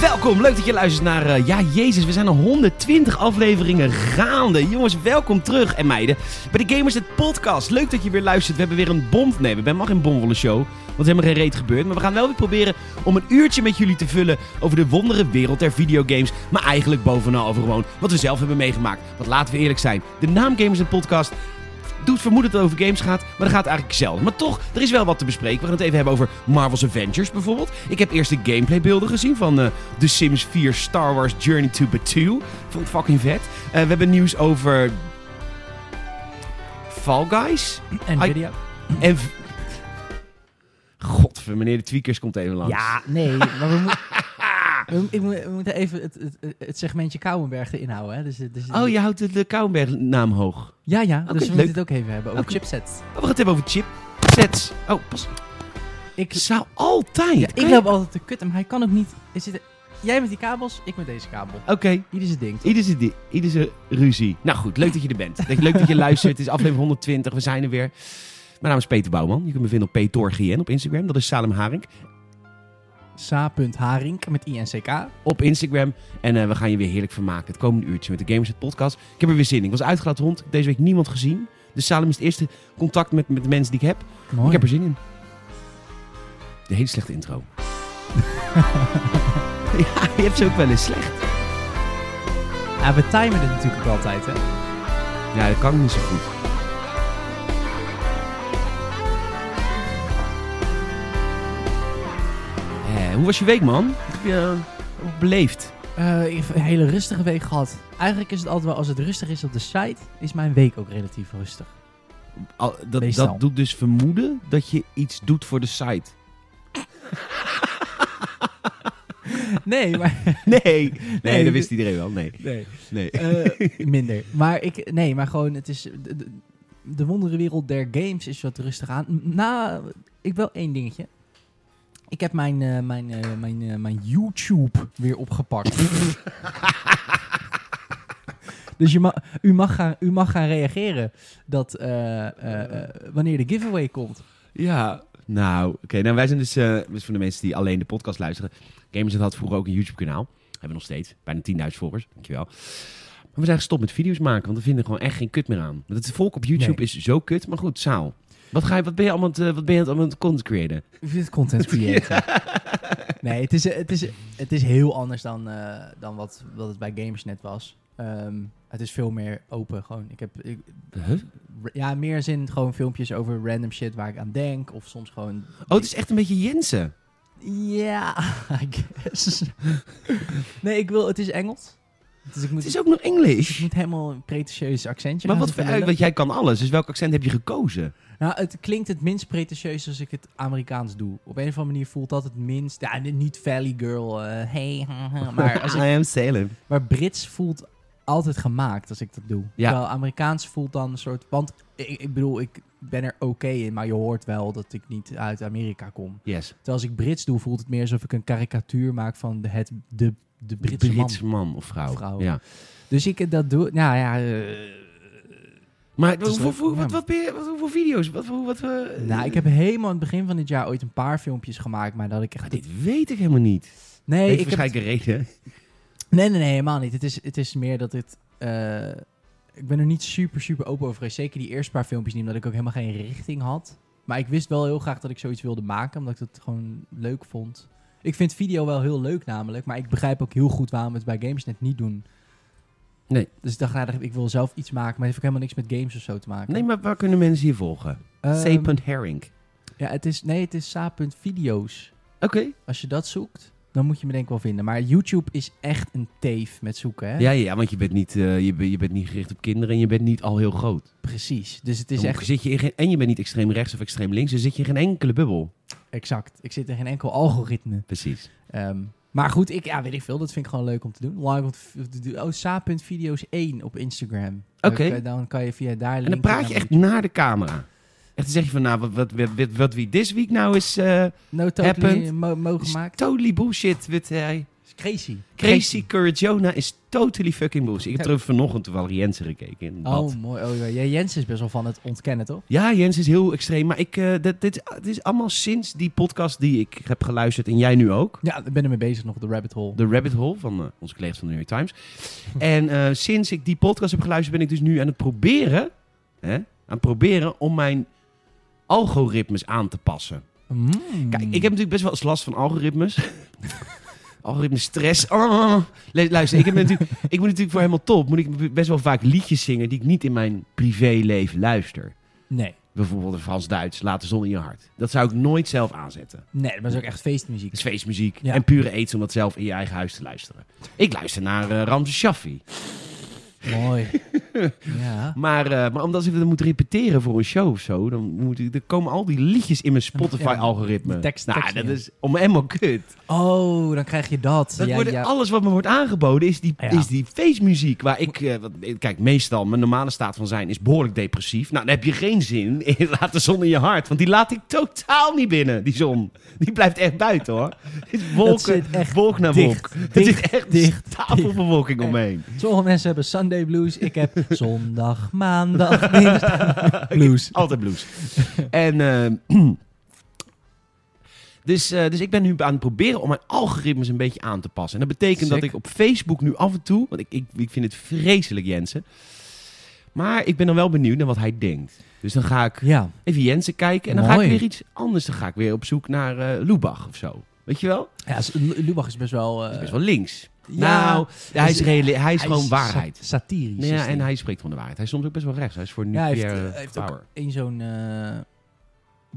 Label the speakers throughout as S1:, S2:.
S1: Welkom, leuk dat je luistert naar... eh, ja, jezus, we zijn al 120 afleveringen gaande. Jongens, welkom terug. En meiden, bij de Gamers het podcast. Leuk dat je weer luistert. We hebben weer een bom... Nee, we hebben- mag geen bomvolle show. Want er is helemaal geen reet gebeurd. Maar we gaan wel weer proberen om een uurtje met jullie te vullen... over de wondere wereld der videogames. Maar eigenlijk bovenal over gewoon wat we zelf hebben meegemaakt. Want laten we eerlijk zijn. De naam Gamers het podcast doet vermoeden dat het over games gaat, maar dat gaat eigenlijk zelden. Maar toch, er is wel wat te bespreken. We gaan het even hebben over Marvel's Avengers bijvoorbeeld. Ik heb eerst de gameplaybeelden gezien van eh, The Sims 4 Star Wars Journey to Batuu. Vond ik fucking vet. Eh, we hebben nieuws over... Fall Guys?
S2: En
S1: Ai-
S2: video.
S1: En... v- Godver, meneer de Tweakers komt even langs.
S2: Ja, nee, maar we, moet- we, mo- ik moet- we moeten even het, het, het segmentje Kouwenberg erin houden. Hè? Dus, het- dus,
S1: Oh, je houdt de- de Kouwenberg-naam hoog.
S2: Ja, ja,
S1: Oké,
S2: dus we
S1: leuk.
S2: moeten het ook even hebben over
S1: Oké.
S2: chipsets.
S1: Oh, we gaan het hebben over chipsets. Oh, pas.
S2: Ik,
S1: Ik zou altijd...
S2: ja, ik
S1: Kan je-
S2: loop altijd te kut, maar hij kan ook niet. Er zitten- jij met die kabels, ik met deze kabel.
S1: Oké.
S2: Ieder zijn ding.
S1: Ieder zijn, di- ieder zijn ruzie. Nou goed, leuk dat je er bent. Leuk- Leuk dat je luistert. Het is aflevering 120. We zijn er weer. Mijn naam is Peter Bouwman. Je kunt me vinden op PetorGN op Instagram. Dat is Salem Haring
S2: Sa.haring met INCK.
S1: op Instagram. En eh, we gaan je weer heerlijk vermaken het komende uurtje met de Gamers het Podcast. Ik heb er weer zin in. Ik was uitgelaten hond. Ik heb Deze week niemand gezien. Dus Salem is het eerste contact met, met de mensen die ik heb.
S2: Mooi.
S1: Ik heb er zin in. De hele slechte intro. ja, je hebt ze ook wel eens slecht.
S2: Ja, we timen het natuurlijk ook altijd, hè?
S1: Ja, dat kan niet zo goed. Eh, hoe was je week, man? Heb je eh, beleefd?
S2: Eh, ik heb een hele rustige week gehad. Eigenlijk is het altijd wel, als het rustig is op de site, is mijn week ook relatief rustig.
S1: Al, dat,
S2: Meestal.
S1: dat doet dus vermoeden dat je iets doet voor de site.
S2: Nee, maar...
S1: Nee, nee,
S2: Nee,
S1: dat
S2: dit-
S1: wist iedereen wel. Nee,
S2: Nee.
S1: nee.
S2: Eh, minder. Maar ik, nee, maar gewoon, het is. De, de- de wonderenwereld der games is wat rustig aan. M- Na, ik wel één dingetje. Ik heb mijn, eh, mijn, eh, mijn, eh, mijn YouTube weer opgepakt. dus je ma- u, mag gaan, u mag gaan reageren dat eh, eh, eh, wanneer de giveaway komt.
S1: Ja. Nou, oké. nou, wij zijn dus, eh, dus voor de mensen die alleen de podcast luisteren. Gamers had vroeger ook een YouTube-kanaal. Hebben we nog steeds. Bijna 10.000 volgers. Dankjewel. Maar we zijn gestopt met video's maken, want we vinden gewoon echt geen kut meer aan. Want het volk op YouTube
S2: Nee.
S1: is zo kut. Maar goed, Saal. Wat, ga je, wat ben je allemaal aan het, eh, wat ben je aan het- aan het content creëren?
S2: Ik vind het content creëren. Nee, het is, het, is, het is heel anders dan, eh, dan wat, wat het bij games net was. Ehm, het is veel meer open. Gewoon. Ik heb ik-
S1: Huh?
S2: r- ja, meer zin gewoon filmpjes over random shit waar ik aan denk. Of soms gewoon.
S1: Oh, het is echt een beetje Jensen.
S2: Ja, I guess. nee, ik wil. Het is Engels. Dus ik moet,
S1: Het is ook nog Engels.
S2: ik moet helemaal een pretentieus accentje
S1: Maar
S2: gaan
S1: wat voor
S2: verzinnen.
S1: want jij kan alles. Dus welk accent heb je gekozen?
S2: Nou, het klinkt het minst pretentieus als ik het Amerikaans doe. Op een of andere manier voelt dat het minst... Ja, niet Valley Girl, eh, hey, haha, maar, als ik,
S1: I am Salem.
S2: maar Brits voelt altijd gemaakt als ik dat doe.
S1: Ja.
S2: Terwijl Amerikaans voelt dan een soort... Want ik, ik bedoel, ik ben er oké in, maar je hoort wel dat ik niet uit Amerika kom.
S1: Yes.
S2: Terwijl als ik Brits doe, voelt het meer alsof ik een karikatuur maak van de, het, de, de Britse
S1: Brits
S2: man.
S1: man, of vrouw.
S2: Vrouw.
S1: Ja.
S2: Dus ik eh, dat doe... Nou ja... eh,
S1: Maar
S2: is
S1: hoeveel,
S2: leuk.
S1: hoeveel-
S2: Ja,
S1: wat,
S2: man.
S1: wat, ben je- wat, hoeveel video's? Wat, hoe- wat, eh,
S2: nou, ik heb helemaal aan het begin van dit jaar ooit een paar filmpjes gemaakt, maar dat ik echt...
S1: Maar dit weet ik helemaal niet.
S2: nee,
S1: Heeft
S2: ik heb het-
S1: waarschijnlijk een reden.
S2: Nee, nee, nee, helemaal niet. Het is, het is meer dat het... eh, ik ben er niet super, super open over geweest. Zeker die eerste paar filmpjes niet, omdat ik ook helemaal geen richting had. Maar ik wist wel heel graag dat ik zoiets wilde maken, omdat ik het gewoon leuk vond. Ik vind video wel heel leuk namelijk, maar ik begrijp ook heel goed waarom we het bij games net niet doen.
S1: Nee.
S2: Dus ik dacht, nou, ik wil zelf iets maken, maar het heeft ook helemaal niks met games of zo te maken.
S1: Nee, maar waar kunnen mensen je volgen?
S2: Ehm,
S1: C. Herring.
S2: Ja, het is, nee, het is sa.video's.
S1: Oké.
S2: Als je dat zoekt, dan moet je me denk ik wel vinden. Maar YouTube is echt een teef met zoeken, hè?
S1: Ja, ja, want je bent, niet, eh, je, ben- je bent niet gericht op kinderen en je bent niet al heel groot.
S2: Precies. Dus het is
S1: Dan
S2: echt
S1: zit je in geen, en je bent niet extreem rechts of extreem links, dan zit je in geen enkele bubbel.
S2: Exact. Ik zit in geen enkel algoritme.
S1: Precies.
S2: Ehm, maar goed, ik, ja, weet ik veel. Dat vind ik gewoon leuk om te doen. Like om te- te doen. Oh, sa.video's1 op Instagram. Dan
S1: Oké.
S2: kan- Dan kan je via daar
S1: En dan
S2: linken
S1: praat
S2: naar
S1: je echt naar de camera. Echt, dan zeg je van, nou, wat, wat, wat, wat, wat we this week nou is, eh,
S2: mijn- No totally
S1: happened.
S2: mo- mogen
S1: is
S2: maken.
S1: totally bullshit. Wat, hij
S2: is crazy.
S1: Crazy Curationa is totally fucking bullshit. Ik heb er vanochtend toevallig Jensen gekeken in het bad.
S2: Oh, mooi. Oh, ja. Jij, Jens is best wel van het ontkennen, toch?
S1: Ja, Jens is heel extreem. Maar ik, eh, dit, dit, dit is allemaal sinds die podcast die ik heb geluisterd. En jij nu ook.
S2: Ja, ik ben ermee bezig nog, de rabbit hole.
S1: De Rabbit Hole van eh, onze collega's van de New York Times. en eh, sinds ik die podcast heb geluisterd, ben ik dus nu aan het proberen. Hè, aan het proberen om mijn algoritmes aan te passen.
S2: Mm.
S1: Kijk, ik heb natuurlijk best wel eens last van algoritmes. Algoritme stress. Ah. Le- Luister, ik, heb natuurlijk, ik moet natuurlijk voor helemaal top. Moet ik best wel vaak liedjes zingen die ik niet in mijn privéleven luister.
S2: Nee,
S1: Bijvoorbeeld een Frans-Duits, Laat de zon in je hart. Dat zou ik nooit zelf aanzetten.
S2: nee, maar dat is ook echt feestmuziek.
S1: Dat is feestmuziek
S2: Ja.
S1: en pure aids om dat zelf in je eigen huis te luisteren. Ik luister naar eh Ramse Shaffi.
S2: Mooi. ja.
S1: Maar, eh, maar omdat ik dat moet repeteren voor een show of zo, dan, moet ik, dan komen al die liedjes in mijn Spotify-algoritme.
S2: de tekst-
S1: nou,
S2: tekst
S1: dat
S2: niet in.
S1: is om helemaal kut.
S2: Oh, dan krijg je dat.
S1: Dat
S2: ja,
S1: wordt,
S2: ja.
S1: Alles wat me wordt aangeboden is die,
S2: Ja.
S1: is die feestmuziek. Waar ik, eh, wat- kijk, meestal mijn normale staat van zijn is behoorlijk depressief. Nou, dan heb je geen zin in Laat de zon in je hart. Want die laat ik totaal niet binnen, die zon. Die blijft echt buiten hoor. Het is wolken,
S2: zit echt
S1: wolk naar
S2: dicht,
S1: wolk. Het
S2: dicht,
S1: is echt
S2: dicht,
S1: tafelverwolking
S2: dicht.
S1: omheen.
S2: Sommige mensen hebben Sunday blues. Ik heb zondag, maandag, dinsdag blues.
S1: Altijd blues. en, eh, dus, eh, dus ik ben nu aan het proberen om mijn algoritmes een beetje aan te passen. En dat betekent dat
S2: Sick.
S1: ik op Facebook nu af en toe, want ik, ik, ik vind het vreselijk Jensen. Maar ik ben dan wel benieuwd naar wat hij denkt. Dus dan ga ik
S2: Ja,
S1: even Jensen kijken en dan ga
S2: Mooi.
S1: ik weer iets anders. Dan ga ik weer op zoek naar eh Lubach of zo. Weet je wel?
S2: ja s- Lu- Lubach is best wel... eh,
S1: Dat is best wel links.
S2: ja,
S1: nou, hij is, reali- hij is gewoon waarheid.
S2: sa- satirisch.
S1: Nou
S2: is
S1: ja,
S2: die.
S1: en hij spreekt van de waarheid. Hij is soms ook best wel rechts. Hij is voor
S2: Ja, hij heeft,
S1: nucleaire
S2: eh, hij heeft
S1: power.
S2: ook één zo'n eh,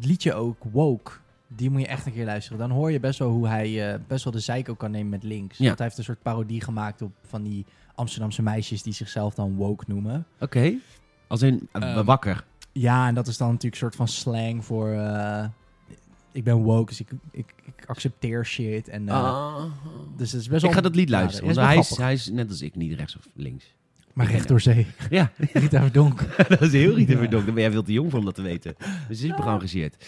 S2: liedje ook, Woke. Die moet je echt een keer luisteren. Dan hoor je best wel hoe hij eh, best wel de zeik ook kan nemen met links.
S1: Ja.
S2: Want hij heeft een soort parodie gemaakt op van die Amsterdamse meisjes die zichzelf dan woke noemen.
S1: Oké. Als in eh,
S2: Ehm,
S1: wakker.
S2: Ja, en dat is dan natuurlijk een soort van slang voor... eh, ik ben woke, dus ik, ik, ik accepteer shit. En, eh,
S1: Ah.
S2: Dus het is best wel...
S1: ik ga dat lied
S2: ja,
S1: luisteren.
S2: dat
S1: want hij
S2: is
S1: is,
S2: wel
S1: hij is net als ik niet rechts of links.
S2: Maar recht door zee.
S1: Ja,
S2: Rita Verdonk.
S1: dat is heel Rita Verdonk. Dan ben jij veel te jong voor om dat te weten. Dus het is geëngageerd.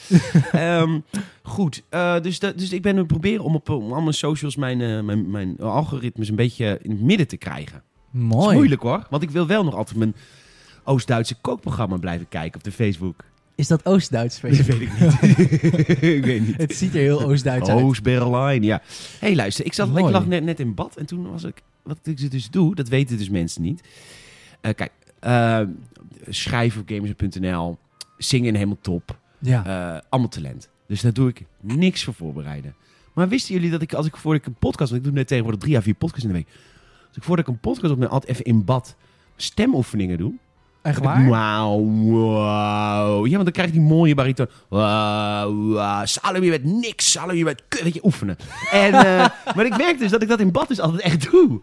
S1: Ehm goed, eh, dus, dat, dus ik ben aan het proberen om op eh, om al mijn socials mijn, eh, mijn, mijn algoritmes een beetje in het midden te krijgen. Dat is
S2: Mooi. Is,
S1: moeilijk hoor, want ik wil wel nog altijd mijn Oost-Duitse kookprogramma blijven kijken op de Facebook.
S2: dat Oost-Duits?
S1: Dat weet ik niet. ik weet niet.
S2: Het ziet er heel Oost-Duits uit.
S1: Oost-Berlijn, ja. Hé, hey, luister, ik, zat, ik
S2: Mooi.
S1: lag net, net in bad en toen was ik... Wat ik dus doe, dat weten dus mensen niet. Eh, kijk, eh, schrijven op gamers.nl, zingen helemaal top,
S2: Ja.
S1: eh, allemaal talent. Dus daar doe ik niks voor voorbereiden. Maar wisten jullie dat ik, als ik voordat ik een podcast... Want ik doe net tegenwoordig drie à vier podcasts in de week. Als ik voordat ik een podcast op mijn altijd even in bad stemoefeningen doe...
S2: Echt
S1: Dan
S2: waar?
S1: heb ik, Wauw, wauw. Ja, want dan krijg je die mooie bariton. Wauw, wauw. Salem, je bent niks. Salem, je bent kut. Weet je, oefenen. En, eh, maar ik merk dus dat ik dat in bad dus altijd echt doe.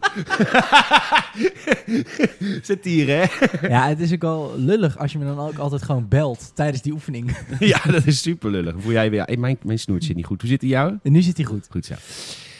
S1: Satire, hè?
S2: Ja, het is ook wel lullig als je me dan ook altijd gewoon belt tijdens die oefening.
S1: ja, dat is super lullig. Voel jij weer... Hey, mijn, mijn snoert zit niet goed. Hoe zit die jou?
S2: En nu zit hij goed.
S1: Goed zo.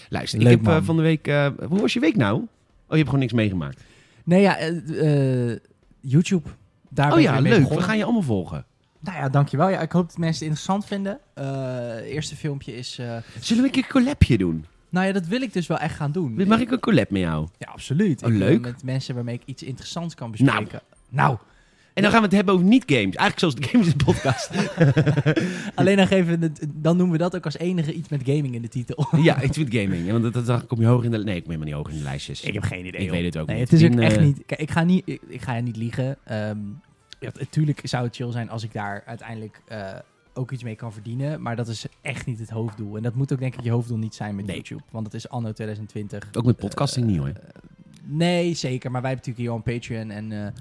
S1: Luister,
S2: Leuk,
S1: ik heb eh,
S2: man.
S1: van de week... eh, hoe was je week nou? Oh, je hebt gewoon niks meegemaakt.
S2: Nee, ja, eh, eh, YouTube. Daar ben
S1: oh
S2: ik
S1: ja,
S2: weer mee
S1: leuk. We
S2: begonnen.
S1: gaan je allemaal volgen.
S2: Nou ja, dankjewel. Ja, ik hoop dat mensen het interessant vinden. Eh eerste filmpje is... eh,
S1: Zullen we een keer een collabje doen?
S2: nou ja, dat wil ik dus wel echt gaan doen.
S1: Mag ik een collab met jou?
S2: Ja, absoluut.
S1: Oh,
S2: Ik wil
S1: leuk.
S2: Met mensen waarmee ik iets interessants kan
S1: Nou.
S2: bespreken. Nou,
S1: En dan gaan we het hebben over niet-games. Eigenlijk zoals de Games in de Podcast.
S2: alleen dan, geven we het, dan noemen we dat ook als enige iets met gaming in de titel.
S1: Ja, iets met gaming. Ja, Want dat, dat, dan kom je hoog in de... Nee, ik ben helemaal niet hoog in de lijstjes.
S2: Ik heb geen idee.
S1: Ik
S2: joh.
S1: weet het ook
S2: nee,
S1: niet.
S2: Het is ook
S1: In,
S2: echt
S1: eh,
S2: niet. Kijk, ik ga, niet, ik, ik ga je niet liegen. Ehm ja, natuurlijk zou het chill zijn als ik daar uiteindelijk eh, ook iets mee kan verdienen. Maar dat is echt niet het hoofddoel. En dat moet ook denk ik je hoofddoel niet zijn met
S1: Nee.
S2: YouTube. Want dat is anno 2020.
S1: Ook met podcasting niet hoor.
S2: Eh, Nee, zeker. Maar wij hebben natuurlijk hier al een Patreon en eh,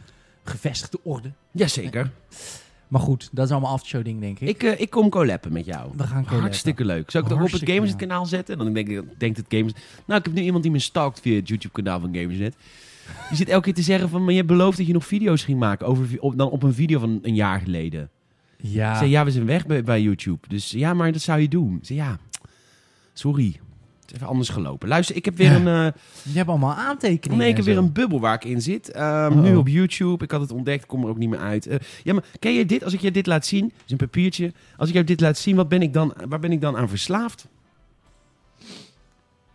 S2: gevestigde orde.
S1: Jazeker.
S2: Maar goed, dat is allemaal aftershow ding denk ik.
S1: Ik, eh, ik kom collappen met jou.
S2: We gaan collappen.
S1: Hartstikke leuk. Zou ik dat op het
S2: Oh, Hartstikke
S1: Gamers
S2: leuk.
S1: kanaal zetten? Dan denk ik, denkt het Gamers... Nou, ik heb nu iemand die me stalkt via het YouTube kanaal van Gamersnet. Die zit elke keer te zeggen van... Maar je belooft dat je nog video's ging maken over, vi- op, dan op een video van een jaar geleden. Ik
S2: Ja.
S1: zei, ja, we zijn weg bij, bij YouTube. Dus ja, maar dat zou je doen. Ik zei, ja, sorry. Het is even anders gelopen. Luister, ik heb weer
S2: Ja.
S1: een... eh,
S2: Je hebt allemaal aantekeningen.
S1: Nee, ik
S2: en
S1: heb weer
S2: zo. Oh.
S1: een bubbel waar ik in zit. Ehm,
S2: Uh-oh.
S1: Nu op YouTube. Ik had het ontdekt, kom er ook niet meer uit. Eh, ja, maar ken je dit? Als ik je dit laat zien, is een papiertje. Als ik jou dit laat zien, wat ben ik dan, waar ben ik dan aan verslaafd?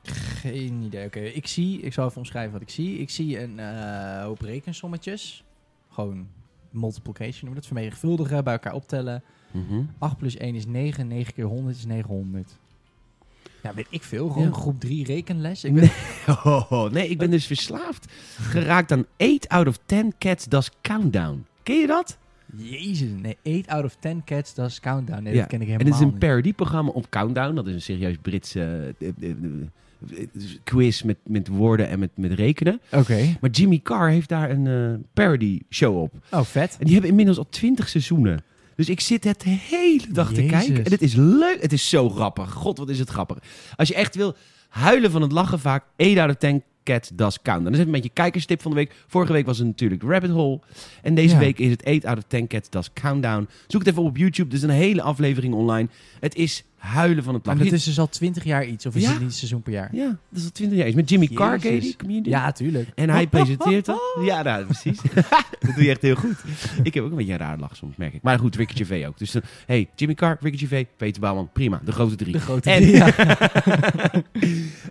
S2: Geen idee. Oké, ik zie, ik zal even omschrijven wat ik zie. Ik zie een eh, hoop rekensommetjes. Gewoon multiplication, noemen we dat vermenigvuldigen, bij elkaar optellen. 8 plus 1 is 9, 9 keer 100 is 900. Ja, weet ik veel. Gewoon
S1: Ja.
S2: groep 3 rekenles. Ik
S1: Nee.
S2: ben,
S1: Oh, nee, ik ben dus verslaafd geraakt aan 8 out of 10 cats does countdown. Ken je dat?
S2: Jezus, nee. 8 out of 10 cats, dat is countdown. Nee,
S1: Ja,
S2: dat ken ik
S1: En dit
S2: helemaal
S1: is een
S2: niet.
S1: parodieprogramma op Countdown. Dat is een serieus Brits eh, eh, eh, eh, quiz met, met woorden en met, met rekenen.
S2: Oké.
S1: Maar Jimmy Carr heeft daar een eh, parody show op.
S2: Oh, vet.
S1: En die hebben inmiddels al twintig seizoenen. Dus ik zit het de hele dag te
S2: Jezus.
S1: kijken. En het is leuk. Het is zo grappig. God, wat is het grappig. Als je echt wil huilen van het lachen vaak. 8 out of 10 Cat Does Countdown. Dat is even met je kijkerstip van de week. Vorige week was het natuurlijk Rabbit Hole. En deze
S2: Ja.
S1: week is het 8 out of 10 Cat Does Countdown. Zoek het even op op YouTube. Er is een hele aflevering online. Het is huilen van het
S2: En
S1: lachen.
S2: dat is dus al 20 jaar iets. Of is
S1: Ja?
S2: het niet een seizoen per jaar?
S1: Ja, dat is al 20 jaar. Is met Jimmy Carr, ken je die
S2: Jezus.
S1: comedian?
S2: Ja, tuurlijk.
S1: En hij presenteert het. Ja, nou, precies. dat doe je echt heel goed. Ik heb ook een beetje een raar lach soms, merk ik. Maar goed, Ricky V ook. Dus eh, hey, Jimmy Carr, Ricky V, Peter Bouwman, prima. De grote drie.
S2: De grote
S1: En-
S2: drie, ja.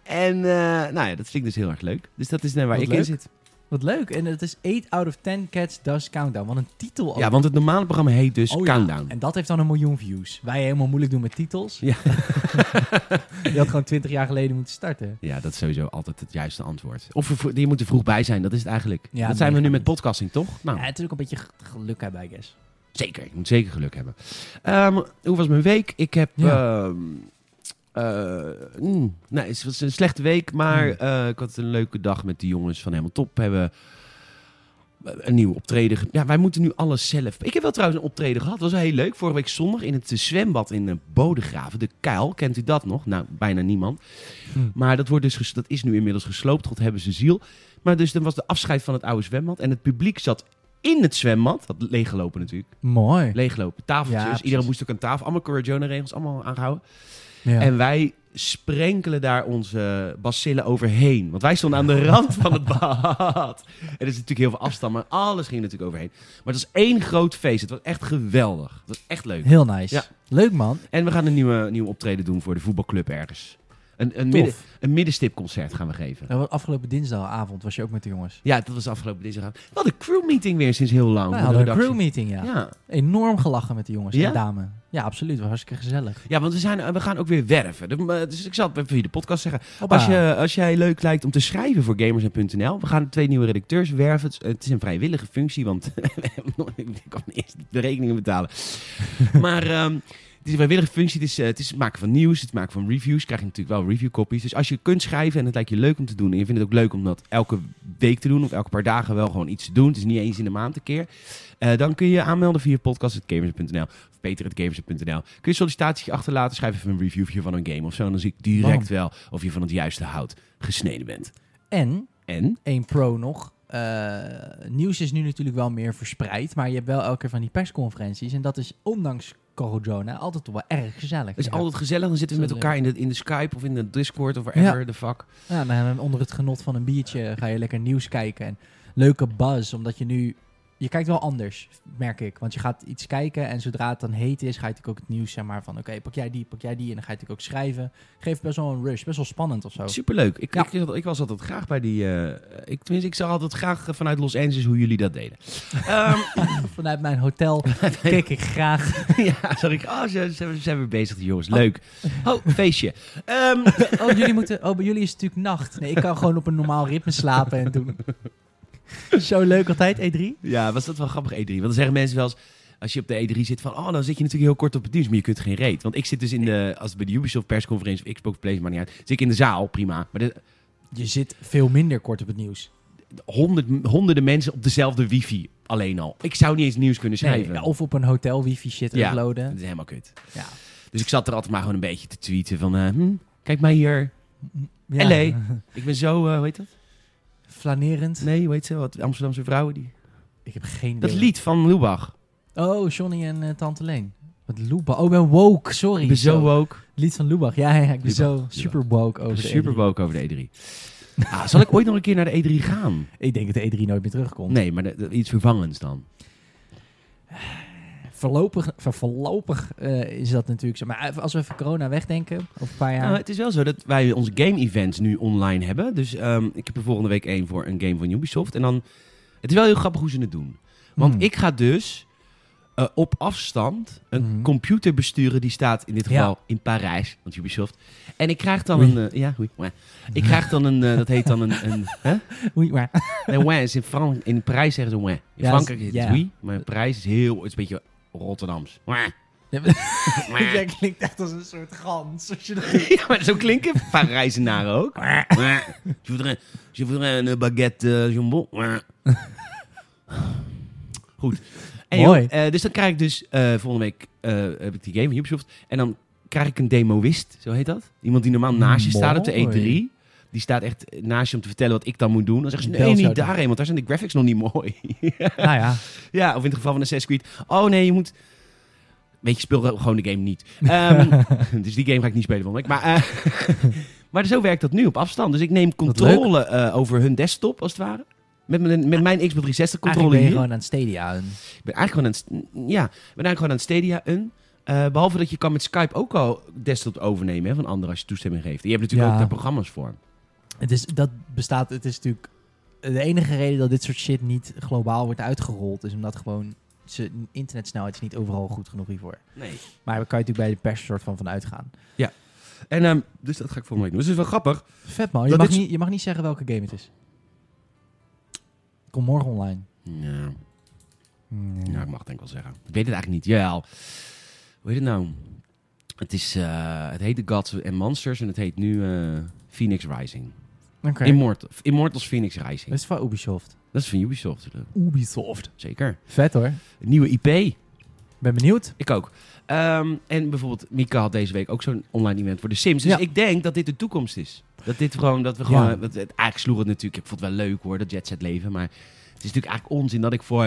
S1: En eh, nou ja, dat vind ik dus heel erg leuk. Dus dat is net waar
S2: Wat
S1: ik in
S2: leuk.
S1: zit.
S2: Wat leuk. En het is 8 out of 10 cats does countdown. Wat een titel. ook.
S1: Ja, want het normale programma heet dus
S2: Oh ja.
S1: Countdown.
S2: En dat heeft dan een miljoen views. Wij helemaal moeilijk doen met titels.
S1: Ja.
S2: Je had gewoon 20 jaar geleden moeten starten.
S1: Ja, dat is sowieso altijd het juiste antwoord. Of we vro- je moet er vroeg bij zijn, dat is het eigenlijk.
S2: Ja,
S1: dat zijn we nu
S2: mega.
S1: met podcasting, toch? Nou,
S2: Ja, het is ook een beetje g- geluk hebben, I guess.
S1: Zeker, ik moet zeker geluk hebben. Ehm, hoe was mijn week? Ik heb.
S2: Ja.
S1: ehm, eh, mm, nee, het was een slechte week, maar
S2: Mm.
S1: eh, ik had een leuke dag met de jongens van Helemaal Top. We hebben eh, een nieuw optreden. ge- Ja, wij moeten nu alles zelf. Ik heb wel trouwens een optreden gehad. Dat was heel leuk. Vorige week zondag in het eh, zwembad in eh, Bodegraven. De Kuil, kent u dat nog? Nou, bijna niemand.
S2: Hm.
S1: Maar dat, wordt dus ges- dat is nu inmiddels gesloopt. God hebben ze ziel. Maar dus dan was de afscheid van het oude zwembad. En het publiek zat in het zwembad. Dat leeggelopen natuurlijk
S2: Mooi.
S1: leeglopen.
S2: Ja,
S1: Tafeltjes,
S2: precies.
S1: iedereen moest ook een tafel. Allemaal Corona regels, allemaal aangehouden.
S2: Ja.
S1: En wij sprenkelen daar onze bacillen overheen. Want wij stonden aan de rand van het bad. En er is natuurlijk heel veel afstand, maar alles ging er natuurlijk overheen. Maar het was één groot feest. Het was echt geweldig. Het was echt leuk.
S2: Heel nice.
S1: Ja.
S2: Leuk man.
S1: En we gaan een nieuwe, nieuwe optreden doen voor de voetbalclub ergens. Een, een,
S2: Tof.
S1: midden, een middenstipconcert gaan we geven.
S2: Nou, afgelopen dinsdagavond was je ook met de jongens.
S1: Ja, dat was afgelopen dinsdag. We hadden een crewmeeting weer sinds heel lang.
S2: Wij
S1: voor de
S2: hadden een
S1: redactie.
S2: crewmeeting, ja.
S1: Oh, Ja.
S2: Enorm gelachen met de jongens
S1: Ja?
S2: en dame. Ja, absoluut. Was hartstikke gezellig.
S1: ja, want we, zijn, eh, we gaan ook weer werven. De- Dus ik zal het even via de podcast zeggen.
S2: Hoppa.
S1: Als, je, als jij leuk lijkt om te schrijven voor gamers.nl, we gaan twee nieuwe redacteurs werven. Het is- Het is een vrijwillige functie, want ik kan eerst de rekeningen betalen. maar ehm, het is een vrijwillige functie. Het is, eh, het is het maken van nieuws, het maken van reviews. Krijg je natuurlijk wel review copies. Dus als je kunt schrijven en het lijkt je leuk om te doen, en je vindt het ook leuk om dat elke week te doen, of elke paar dagen wel gewoon iets te doen. Het is niet eens in de maand een keer. Eh, dan kun je je aanmelden via podcast.gamers.nl of peter.gamers.nl. Kun je sollicitatie achterlaten, schrijf even een reviewje van een game of zo. En dan zie ik direct wel of je van het juiste hout gesneden bent.
S2: En
S1: En?
S2: één pro nog. Eh, nieuws is nu natuurlijk wel meer verspreid, maar je hebt wel elke keer van die persconferenties. En dat is ondanks corona altijd toch wel erg gezellig.
S1: Het is
S2: Ja.
S1: altijd gezellig. Dan zitten we met
S2: Zo leuk.
S1: elkaar in de, in de Skype of in de Discord of wherever de fuck.
S2: Ja, nou, en onder het genot van een biertje ga je lekker nieuws kijken. En leuke buzz, omdat je nu... Je kijkt wel anders, merk ik. Want je gaat iets kijken en zodra het dan heet is, ga je natuurlijk ook het nieuws zeg maar van... Oké, pak jij die, pak jij die. En dan ga je natuurlijk ook schrijven. Geeft best wel een rush, best wel spannend of zo.
S1: Superleuk. Ik,
S2: Oh. Ja.
S1: ik, zat- ik was altijd graag bij die... eh, ik, tenminste, ik zag altijd graag eh, vanuit Los Angeles hoe jullie dat deden. Ehm,
S2: Vanuit mijn hotel kijk ik graag.
S1: ja, zag ik... Oh, ze, ze- ze zijn weer bezig, die jongens. Leuk. Oh, feestje. Ehm,
S2: Oh, jullie moeten, oh, bij jullie is het natuurlijk nacht. Nee, ik kan gewoon op een normaal ritme slapen en doen. Zo leuk altijd, E E3.
S1: Ja, was dat wel grappig, E3. Want dan zeggen mensen wel eens, als je op de E3 zit, van... Oh, dan zit je natuurlijk heel kort op het nieuws, maar je kunt geen reet. Want ik zit dus in de... Als het bij de Ubisoft persconferentie of Xbox Play, maar niet uit... Zit ik in de zaal, prima. Maar de,
S2: Je zit veel minder kort op het nieuws.
S1: honderd, honderden mensen op dezelfde wifi alleen al. Ik zou niet eens nieuws kunnen
S2: Nee,
S1: schrijven.
S2: of op een hotel wifi shit
S1: Ja.
S2: uploaden.
S1: Dat is helemaal kut.
S2: Ja.
S1: Dus ik zat er altijd maar gewoon een beetje te tweeten van... eh, hm, kijk mij hier.
S2: ja.
S1: LA. Ik ben zo... eh hoe heet dat?
S2: Flanerend.
S1: Nee, hoe heet ze? Wat, Amsterdamse vrouwen? Die...
S2: Ik heb geen
S1: Dat
S2: idee.
S1: lied van Lubach.
S2: Oh, Johnny en eh, Tante Leen. Wat Loeba. Oh, ik ben woke, sorry.
S1: Ik ben zo woke.
S2: Lied van Lubach. Ja, ja, ja, ik ben
S1: Lubach,
S2: zo
S1: Lubach.
S2: super woke over E de
S1: Super woke over E de E3. Ah, zal ik ooit nog een keer naar de E3 gaan?
S2: E E3. Ik denk dat de E3 nooit meer terugkomt.
S1: Nee, maar de- de- iets vervangends dan.
S2: Voorlopig, ver- voorlopig eh, is dat natuurlijk zo. Maar eh, als we even corona wegdenken, over een paar jaar.
S1: Nou, het is wel zo dat wij onze game-events nu online hebben. Dus ehm, ik heb er volgende week één voor een game van Ubisoft. En dan, het is wel heel grappig hoe ze het doen. Want
S2: Hmm.
S1: ik ga dus eh, op afstand een
S2: Mhm.
S1: computer besturen die staat in dit
S2: Ja.
S1: geval in Parijs, want Ubisoft. En ik krijg dan
S2: Oei.
S1: een, eh, ja, oei, mwah. ik krijg dan een, eh, dat heet dan een, een hè?
S2: Oei, maar-
S1: Nee, ouin is in, Fran in Parijs zeggen ze ouin. In
S2: Ja,
S1: Frankrijk
S2: dat
S1: is
S2: is-
S1: het
S2: ja.
S1: oui, maar in Parijs is heel, het is een beetje Rotterdams. Ouin.
S2: Ja,
S1: Ouin.
S2: Jij klinkt echt als een soort gans. Als je dat...
S1: Ja, maar zo klinken Parijzenaren ook. Je voudrais, je voudrais een baguette eh, jambon. Goed. Anyway,
S2: Mooi.
S1: eh, dus dan krijg ik dus eh, volgende week eh, heb ik die game van Ubisoft. En dan krijg ik een demoist, zo heet dat. Iemand die normaal naast je staat op de
S2: Mooi.
S1: E3. Die staat echt naast je om te vertellen wat ik dan moet doen. Dan zeggen ze,
S2: Bel
S1: nee,
S2: zou
S1: niet
S2: doen.
S1: daarheen, want daar zijn de graphics nog niet mooi.
S2: nou ja,
S1: ja, of in het geval van Assassin's Creed. Oh nee, je moet... Weet je, speel gewoon de game niet. Ehm, dus die game ga ik niet spelen van week. Maar, eh, maar zo werkt dat nu op afstand. Dus ik neem controle eh, over hun desktop, als het ware. Met mijn, met mijn Xbox 360
S2: eigenlijk
S1: controle
S2: ben je
S1: hier.
S2: gewoon aan het stadia. En...
S1: Ik ben eigenlijk gewoon aan het, st- ja, ik ben eigenlijk gewoon aan het Stadia een. Eh, behalve dat je kan met Skype ook al desktop overnemen hè, van anderen als je toestemming geeft. En je hebt natuurlijk
S2: Ja.
S1: ook daar programma's voor.
S2: Het is, dat bestaat, het is natuurlijk de enige reden dat dit soort shit niet globaal wordt uitgerold, is omdat gewoon ze, internetsnelheid is niet overal goed genoeg hiervoor.
S1: Nee.
S2: Maar daar kan je natuurlijk bij de pers soort van van uitgaan.
S1: En, ehm, dus dat ga ik volgende week doen. Dus het is wel grappig.
S2: Vet man, je
S1: Dat
S2: mag,
S1: dit-
S2: niet, je mag niet zeggen welke game het is. Kom morgen online.
S1: Ja, nou, ik mag het denk ik wel zeggen. Ik weet het eigenlijk niet. Jawel. Hoe heet het nou? Het, is, eh, het heet The Gods and Monsters en het heet nu eh, Phoenix Rising.
S2: Oké.
S1: Immortal, Immortals Phoenix Rising.
S2: Dat is van Ubisoft.
S1: Dat is van Ubisoft. eh,
S2: Ubisoft.
S1: Zeker.
S2: Vet hoor.
S1: Een nieuwe IP.
S2: Ben benieuwd.
S1: Ik ook. Ehm, en bijvoorbeeld, Mika had deze week ook zo'n online event voor de Sims. Dus
S2: Ja.
S1: ik denk dat dit de toekomst is. Dat dit gewoon, dat we gewoon, dat, het, eigenlijk sloeg het natuurlijk, ik vond het wel leuk hoor, dat Jet Set leven. Maar het is natuurlijk eigenlijk onzin dat ik voor,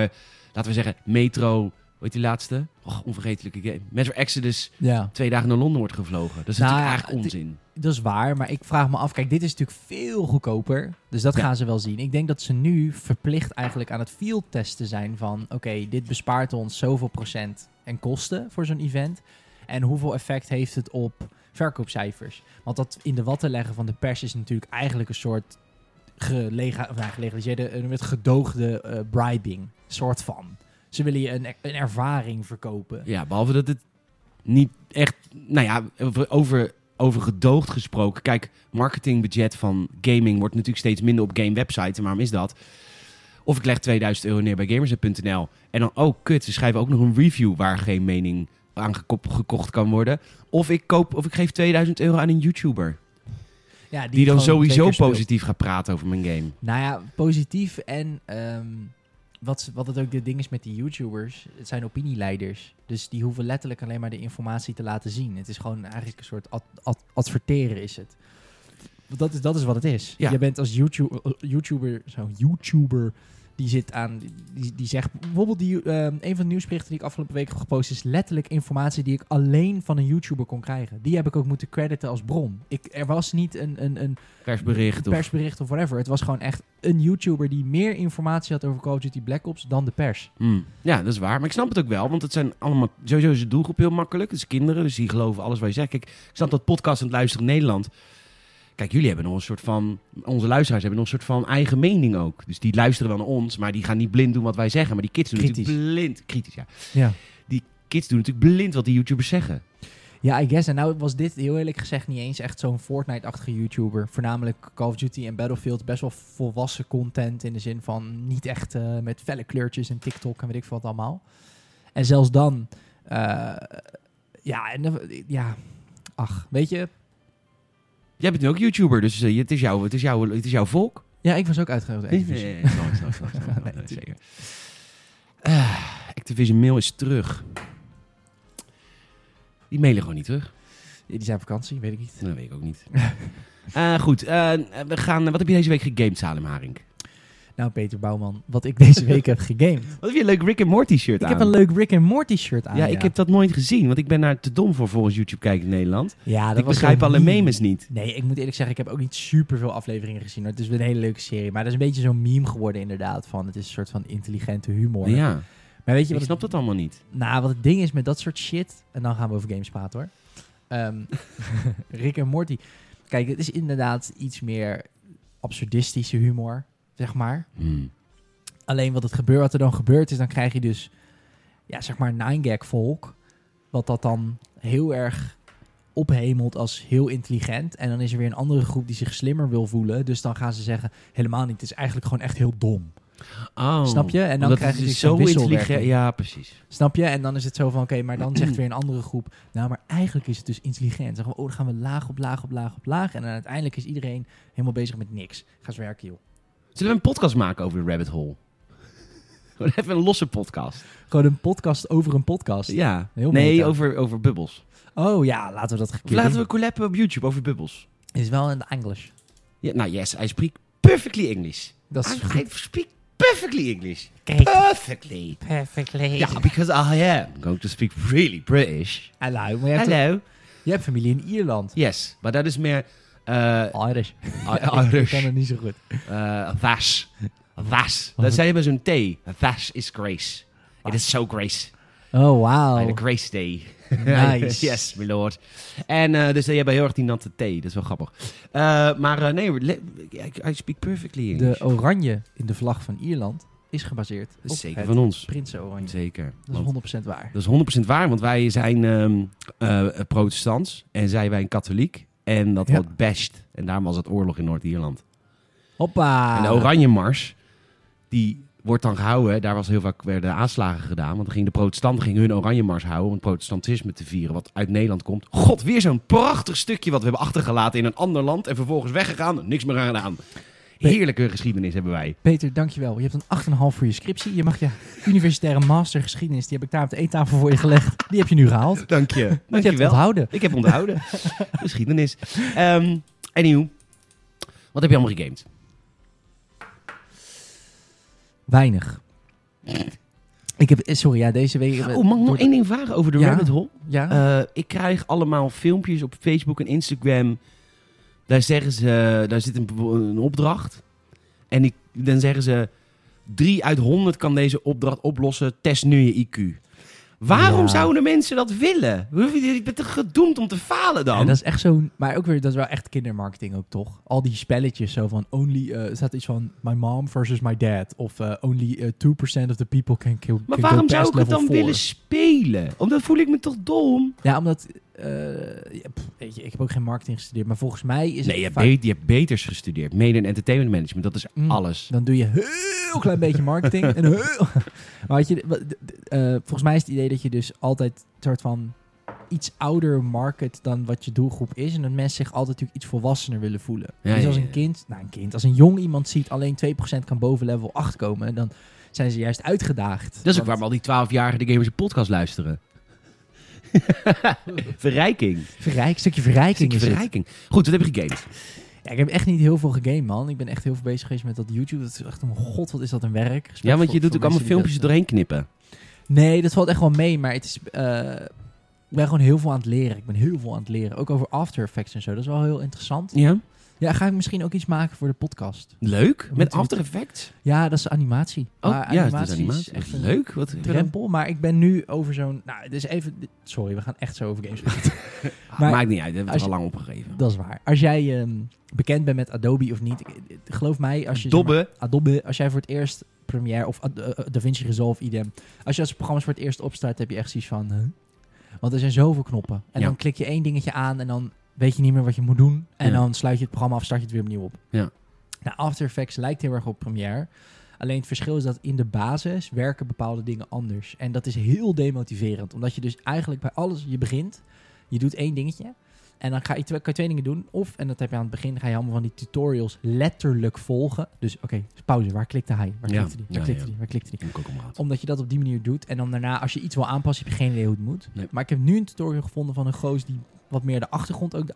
S1: laten we zeggen, Metro, hoe heet die laatste? Och, onvergetelijke game. Metro Exodus
S2: Ja.
S1: twee dagen naar Londen wordt gevlogen. Dat is
S2: Nou,
S1: natuurlijk eigenlijk
S2: het-
S1: onzin.
S2: Dat is waar, maar ik vraag me af. Kijk, dit is natuurlijk veel goedkoper. Dus dat
S1: Ja.
S2: gaan ze wel zien. Ik denk dat ze nu verplicht eigenlijk aan het field testen zijn van... Oké, dit bespaart ons zoveel procent en kosten voor zo'n event. En hoeveel effect heeft het op verkoopcijfers? Want dat in de watten leggen van de pers is natuurlijk eigenlijk een soort... Gelega of nou, gelegaliseerde, eh, met gedoogde eh, bribing. Soort van. Ze willen je een, een ervaring verkopen.
S1: Ja, behalve dat het niet echt, nou ja, over- over, over gedoogd gesproken. Kijk, marketingbudget van gaming wordt natuurlijk steeds minder op gamewebsites. En waarom is dat? Of ik leg 2000 euro neer bij gamers.nl en dan, oh kut, ze schrijven ook nog een review waar geen mening aan geko- gekocht kan worden. Of ik, koop, of ik geef 2000 euro aan een YouTuber.
S2: Ja,
S1: Die, dan
S2: gewoon twee
S1: sowieso
S2: keer speelt.
S1: positief gaat praten over mijn game.
S2: Nou ja, positief en ehm, wat, ze- wat het ook dit ding is met die YouTubers, het zijn opinieleiders. Dus die hoeven letterlijk alleen maar de informatie te laten zien. Het is gewoon eigenlijk een soort ad- ad- adverteren is het. Want Dat is, dat is wat het is.
S1: Ja.
S2: Je bent als YouTube, eh, YouTuber, zo'n YouTuber, die zit aan, die, die zegt, bijvoorbeeld die, ehm, een van de nieuwsberichten die ik afgelopen week heb gepost, is letterlijk informatie die ik alleen van een YouTuber kon krijgen. Die heb ik ook moeten crediten als bron. Ik, er was niet een, een, een
S1: Persbericht.
S2: een
S1: Of,
S2: persbericht of whatever. Het was gewoon echt een YouTuber die meer informatie had over Call of Duty Black Ops dan de pers.
S1: Hmm. Ja, dat is waar. Maar ik snap het ook wel, want het zijn allemaal... Sowieso is de doelgroep heel makkelijk. Het is kinderen, dus die geloven alles wat je zegt. Kijk, ik snap dat podcast aan het luisteren in Nederland... Kijk, jullie hebben nog een soort van... Onze luisteraars hebben nog een soort van eigen mening ook. Dus die luisteren wel naar ons, maar die gaan niet blind doen wat wij zeggen. Maar die kids doen
S2: Kritisch.
S1: natuurlijk blind... Kritisch, ja.
S2: Ja.
S1: Kids doen natuurlijk blind wat die YouTubers zeggen.
S2: Ja, I guess. En nou was dit heel eerlijk gezegd niet eens echt zo'n Fortnite-achtige YouTuber. Voornamelijk Call of Duty en Battlefield. Best wel volwassen content in de zin van niet echt eh, met felle kleurtjes en TikTok en weet ik veel wat allemaal. En zelfs dan, eh, ja, en, dan- ja, ach, weet je.
S1: Jij bent nu ook YouTuber, dus eh, het, is jouw, het, is jouw, het is jouw volk.
S2: Ja, ik was ook uitgenodigd.
S1: Nee,
S2: Activision.
S1: nee, nee, snap ik, snap ik, snap ik, snap ik.
S2: Nee,
S1: Nee,
S2: tuurlijk.
S1: zeker. Ah, Activision Mail is terug. Die mailen gewoon niet terug.
S2: Die zijn op vakantie, weet ik niet.
S1: Dat weet ik ook niet. Eh, goed, eh, we gaan, wat heb je deze week gegamed, Salem Haring?
S2: Nou, Peter Bouwman, wat ik deze week heb gegamed.
S1: Wat heb je een leuk Rick and Morty shirt
S2: Ik
S1: aan?
S2: heb een leuk Rick and Morty shirt aan.
S1: ja, ik heb dat nooit gezien, want ik ben daar te dom voor volgens YouTube kijken in Nederland.
S2: ja, dat
S1: ik
S2: was
S1: begrijp
S2: zo'n
S1: alle
S2: meme.
S1: memes niet.
S2: Nee, ik moet eerlijk zeggen, ik heb ook niet super veel afleveringen gezien. Hoor. Het is weer een hele leuke serie. Maar dat is een beetje zo'n meme geworden, inderdaad. Van het is een soort van intelligente humor.
S1: Ja.
S2: Maar weet je
S1: Ik
S2: wat het
S1: snap dat allemaal niet.
S2: Nou, wat het ding is met dat soort shit. En dan gaan we over games praten hoor. Ehm, Rick en Morty. Kijk, het is inderdaad iets meer absurdistische humor, zeg maar.
S1: Hmm.
S2: Alleen wat, het gebeurt, wat er dan gebeurt is, dan krijg je dus, ja, zeg maar, nine-gag volk. Wat dat dan heel erg ophemelt als heel intelligent. En dan is er weer een andere groep die zich slimmer wil voelen. Dus dan gaan ze zeggen, helemaal niet, het is eigenlijk gewoon echt heel dom.
S1: Oh,
S2: Snap je? En dan
S1: omdat
S2: krijg je
S1: het
S2: dus
S1: is zo
S2: zo'n
S1: intelligent.
S2: wisselwerking.
S1: Ja, precies.
S2: Snap je? En dan is het zo van, oké, maar dan zegt weer een andere groep, nou, maar eigenlijk is het dus intelligent. Zeggen we, oh, dan gaan we laag op laag op laag op laag. En dan uiteindelijk is iedereen helemaal bezig met niks. Ga eens werken, joh.
S1: Zullen we een podcast maken over de rabbit hole? Gewoon even een losse podcast.
S2: Gewoon een podcast over een podcast.
S1: Ja.
S2: Heel
S1: nee,
S2: meta.
S1: over, over bubbels.
S2: Oh ja, laten we dat
S1: Of
S2: gekeerd
S1: laten we collappen op YouTube over bubbels.
S2: Is wel in het Engels.
S1: Ja, nou, yes, I speak perfectly English.
S2: Dat is
S1: I speak perfectly English.
S2: Kijk.
S1: Perfectly.
S2: Perfectly.
S1: Ja, because I am going to speak really British.
S2: Hallo, maar je hebt,
S1: Hello.
S2: je hebt familie in Ierland.
S1: Yes, maar dat is meer... eh
S2: Irish.
S1: I-
S2: Ik
S1: Ah, Irish.
S2: kan het niet zo goed.
S1: eh vas. Vas. Dat zei je bij zo'n thee. Vas is grace. It is so grace.
S2: Oh,
S1: I had
S2: wauw.
S1: a grace day.
S2: Nice.
S1: yes, my lord. En eh, dus die hebben heel erg die natte thee. Dat is wel grappig. Eh, maar eh, nee, le- I, I speak perfectly English.
S2: De oranje in de vlag van Ierland is gebaseerd
S1: Dat
S2: op
S1: is zeker
S2: het
S1: van ons.
S2: Prinsenoranje.
S1: Zeker.
S2: Dat
S1: Want-
S2: is 100% waar.
S1: Dat is 100% waar, want wij zijn ehm, eh, protestants en zij wij een katholiek. En dat
S2: Ja.
S1: wordt best. En daarom was het oorlog in Noord-Ierland.
S2: Hoppa.
S1: En de Oranje Mars, die wordt dan gehouden. hè, Daar was heel vaak werden aanslagen gedaan. Want dan gingen de protestanten gingen hun Oranje Mars houden om het protestantisme te vieren. Wat uit Nederland komt. God, weer zo'n prachtig stukje wat we hebben achtergelaten in een ander land. En vervolgens weggegaan. Niks meer aan gedaan. Heerlijke geschiedenis hebben wij.
S2: Peter, dankjewel. Je hebt een 8,5 voor je scriptie. Je mag je universitaire master geschiedenis, die heb ik daar op de eettafel voor je gelegd. Die heb je nu gehaald. Want
S1: Dank je. Dank
S2: je
S1: je
S2: hebt
S1: wel.
S2: het onthouden.
S1: Ik heb onthouden. Geschiedenis. Ehm anyhow. Wat heb je allemaal gegamed?
S2: Weinig. Ik heb, eh, sorry, ja, deze week...
S1: Oh, mag ik nog één ding vragen over de
S2: Ja.
S1: rabbit hole?
S2: Ja?
S1: Eh, ik krijg allemaal filmpjes op Facebook en Instagram. Daar zeggen ze, daar zit een, een opdracht. En ik, dan zeggen ze, 3 uit 100 kan deze opdracht oplossen. Test nu je IQ. Waarom
S2: Ja.
S1: zouden mensen dat willen? Ik ben toch gedoemd om te falen dan?
S2: Ja, dat is echt zo'n... Maar ook weer, dat is wel echt kindermarketing ook, toch? Al die spelletjes zo van only... eh, er staat iets van my mom versus my dad. Of eh, only eh, 2% of the people can kill
S1: maar waarom zou ik het
S2: het
S1: dan willen spelen? Omdat voel ik me toch dom?
S2: Ja, omdat... eh, ja, pff, weet je, ik heb ook geen marketing gestudeerd, maar volgens mij is
S1: Nee,
S2: het
S1: je hebt,
S2: vaak-
S1: be- je hebt beters gestudeerd. Mede en entertainment management, dat is
S2: Mm.
S1: alles.
S2: Dan doe je heel klein beetje marketing. en een heel... Maar weet je, wat- d- d- eh, volgens mij is het idee dat je dus altijd een soort van iets ouder market dan wat je doelgroep is. En dat mensen zich altijd natuurlijk iets volwassener willen voelen.
S1: Ja,
S2: dus als
S1: ja,
S2: een
S1: ja.
S2: kind, nou een kind, als een jong iemand ziet alleen 2% kan boven level 8 komen, dan zijn ze juist
S1: Dat
S2: uitgedaagd.
S1: is ook
S2: Want
S1: waarom al die 12-jarigen de Gamers podcast luisteren. verrijking.
S2: verrijk, een stukje verrijking
S1: Stukje
S2: is het.
S1: verrijking. Goed, wat heb je gegamed?
S2: Ja, ik heb echt niet heel veel gegame, man. Ik ben echt heel veel bezig geweest met dat YouTube. Dat is echt, oh mijn god, wat is dat een werk. Respect
S1: Ja, want
S2: voor-
S1: je doet
S2: voor
S1: ook allemaal
S2: mensen die
S1: filmpjes
S2: dat, eh,
S1: doorheen knippen.
S2: Nee, dat valt echt wel mee, maar het is, eh, ik ben gewoon heel veel aan het leren. Ik ben heel veel aan het leren. Ook over After Effects en zo. Dat is wel heel interessant.
S1: Ja.
S2: Ja, ga ik misschien ook iets maken voor de podcast.
S1: Leuk.
S2: moeten
S1: Met
S2: we-
S1: After Effects.
S2: Ja, dat is animatie.
S1: Oh,
S2: Maar
S1: ja, dat is
S2: animatie
S1: animatie.
S2: echt een
S1: Leuk. Wat hebben we dan?
S2: drempel. Maar ik ben nu over zo'n... Nou, dus even... Sorry, we gaan echt zo over games praten.
S1: Ah,
S2: Maar-
S1: Maakt niet uit, dat hebben we
S2: als
S1: het al lang opgegeven.
S2: dat is waar. Als jij ehm, bekend bent met Adobe of niet, ik- ik- geloof mij, als je... zeg maar-
S1: Dobbe.
S2: Adobe, als jij voor het eerst Premiere of Ad- eh, DaVinci Resolve idem, als je als programma's voor het eerst opstart, heb je echt zoiets van, huh? want er zijn zoveel knoppen. En
S1: Ja.
S2: dan klik je één dingetje aan en dan weet je niet meer wat je moet doen. En
S1: Ja.
S2: dan sluit je het programma af, start je het weer opnieuw op.
S1: Ja.
S2: Nou, After Effects lijkt heel erg op Premiere. Alleen het verschil is dat in de basis werken bepaalde dingen anders. En dat is heel demotiverend, omdat je dus eigenlijk bij alles, je begint, je doet één dingetje. En dan ga je twee, kan je twee dingen doen. Of, en dat heb je aan het begin, ga je allemaal van die tutorials letterlijk volgen. Dus oké, pauze, waar klikte hij? Waar
S1: Ja.
S2: klikte die? Waar
S1: Ja,
S2: klikte
S1: ja.
S2: die? Waar klikte die?
S1: Moet ik ook omhoog.
S2: Omdat je dat op die manier doet. En dan daarna, als je iets wil aanpassen, heb je geen idee hoe het moet.
S1: Nee.
S2: Maar ik heb nu een tutorial gevonden van een goos die wat meer de achtergrond ook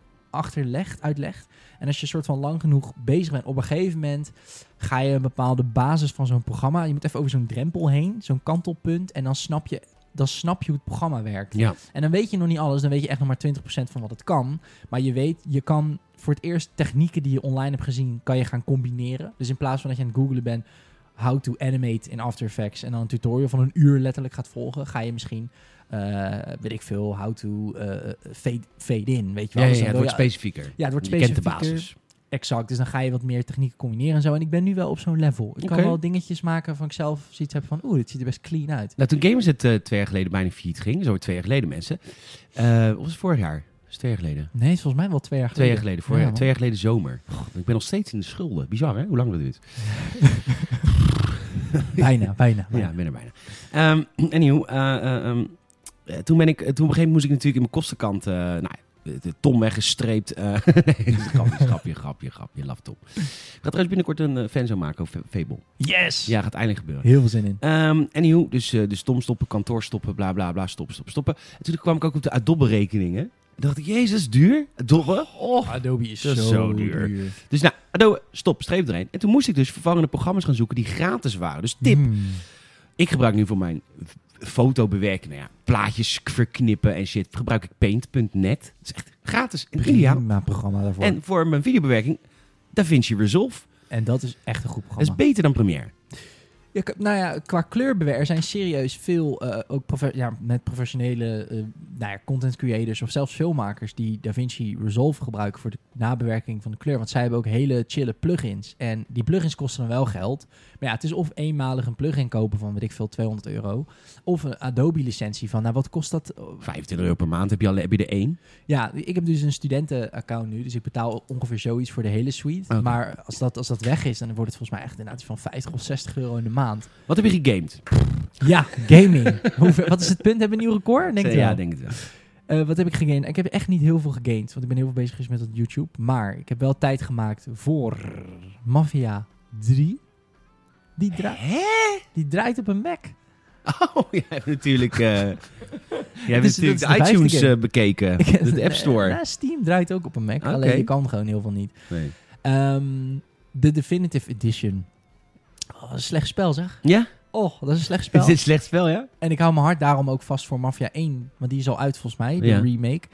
S2: achterlegt, uitlegt. En als je soort van lang genoeg bezig bent, op een gegeven moment ga je een bepaalde basis van zo'n programma. Je moet even over zo'n drempel heen, zo'n kantelpunt. En dan snap je, dan snap je hoe het programma werkt.
S1: Ja.
S2: En dan weet je nog niet alles, dan weet je echt nog maar 20% van wat het kan. Maar je weet, je kan voor het eerst technieken die je online hebt gezien, kan je gaan combineren. Dus in plaats van dat je aan het googlen bent, how to animate in After Effects en dan een tutorial van een uur letterlijk gaat volgen, ga je misschien, eh, weet ik veel, how to eh, fade, fade in, weet je
S1: Ja,
S2: wel.
S1: ja,
S2: Dus
S1: ja, het
S2: dan wil
S1: wordt
S2: je-
S1: specifieker.
S2: ja, het wordt
S1: je kent de
S2: specifieker.
S1: basis.
S2: Exact, dus dan ga je wat meer technieken combineren en zo. En ik ben nu wel op zo'n level. Ik
S1: Oké.
S2: kan wel dingetjes maken van ik zelf zoiets heb van, oeh, dit ziet er best clean uit.
S1: Nou, toen Gamers het eh, twee jaar geleden bijna failliet ging, zo twee jaar geleden mensen. Eh, of was het vorig jaar? Dat is twee jaar geleden.
S2: Nee, het is volgens mij wel twee jaar
S1: Twee
S2: geleden.
S1: jaar geleden, vorig jaar,
S2: Ja, man.
S1: twee jaar geleden zomer. Ik ben nog steeds in de schulden. Bizar hè, hoe lang dat duurt.
S2: Bijna, bijna.
S1: Ja,
S2: bijna.
S1: ik ben er bijna. Ehm anyhow, eh, eh, ehm, eh, toen ben ik, eh, toen op een gegeven moment moest ik natuurlijk in mijn kostenkant, eh nou, ja, de, de tom weggestreept. eh, nee, dat is een grapje, grapje, grapje, grapje, laf top. Ik ga trouwens binnenkort een eh, fanzo maken over Fa- Fable.
S2: Yes!
S1: Ja, gaat eindelijk gebeuren.
S2: Heel veel zin in.
S1: Ehm anyhow, dus, eh, dus tom stoppen, kantoor stoppen, bla bla bla, stoppen, stoppen, stoppen. En toen kwam ik ook op de Adobe rekeningen. En dacht ik, jezus, duur? Adobe? Oh.
S2: Adobe is
S1: Dat is zo duur. Dus nou, Adobe, stop, streep erin. En toen moest ik dus vervangende programma's gaan zoeken die gratis waren. Dus tip,
S2: Hmm.
S1: ik gebruik nu voor mijn f- fotobewerking, nou ja, plaatjes k- verknippen en shit, gebruik ik paint.net. Dat is echt gratis en ideaal.
S2: Prima programma daarvoor. En,
S1: En voor mijn videobewerking, DaVinci Resolve.
S2: dat is echt een goed
S1: Dat is
S2: programma.
S1: beter dan Premiere.
S2: Ja, k- nou ja, qua kleurbewerking er zijn serieus veel, eh, ook profe- ja, met professionele eh, nou ja, content creators of zelfs filmmakers die DaVinci Resolve gebruiken voor de nabewerking van de kleur. Want zij hebben ook hele chille plugins. En die plugins kosten dan wel geld. Maar ja, het is of eenmalig een plugin kopen van, weet ik veel, 200 euro. Of een Adobe licentie van, nou wat kost dat?
S1: 25 euro per maand heb je, al, heb je er één.
S2: Ja, ik heb dus een studentenaccount nu, dus ik betaal ongeveer zoiets voor de hele suite.
S1: Oké.
S2: Maar als dat, als dat weg is, dan wordt het volgens mij echt inderdaad van 50 of 60 euro in de maand.
S1: Wat heb je gegamed?
S2: Ja, gaming. Hoeveel, wat is het punt? Hebben we een nieuw record? Denk ik
S1: ja,
S2: wel.
S1: denk het wel.
S2: Eh, wat heb ik gegamed? Ik heb echt niet heel veel gegamed, want ik ben heel veel bezig geweest met dat YouTube. Maar ik heb wel tijd gemaakt voor Mafia 3. Die, dra- die draait op een Mac.
S1: Oh, jij hebt natuurlijk, eh, jij hebt
S2: is- dat
S1: natuurlijk
S2: is de
S1: de
S2: vijfde
S1: iTunes
S2: keer.
S1: eh, bekeken. De App
S2: Eh,
S1: Store.
S2: nou, Steam draait ook op een Mac,
S1: Oké.
S2: alleen je kan gewoon heel veel niet.
S1: Nee.
S2: Ehm, de Definitive Edition. Oh, dat is een slecht spel zeg.
S1: Ja?
S2: Oh, dat is een slecht spel.
S1: Is dit slecht spel, ja?
S2: En ik hou mijn hart daarom ook vast voor Mafia 1. Want die is al uit volgens mij, de
S1: Ja.
S2: remake.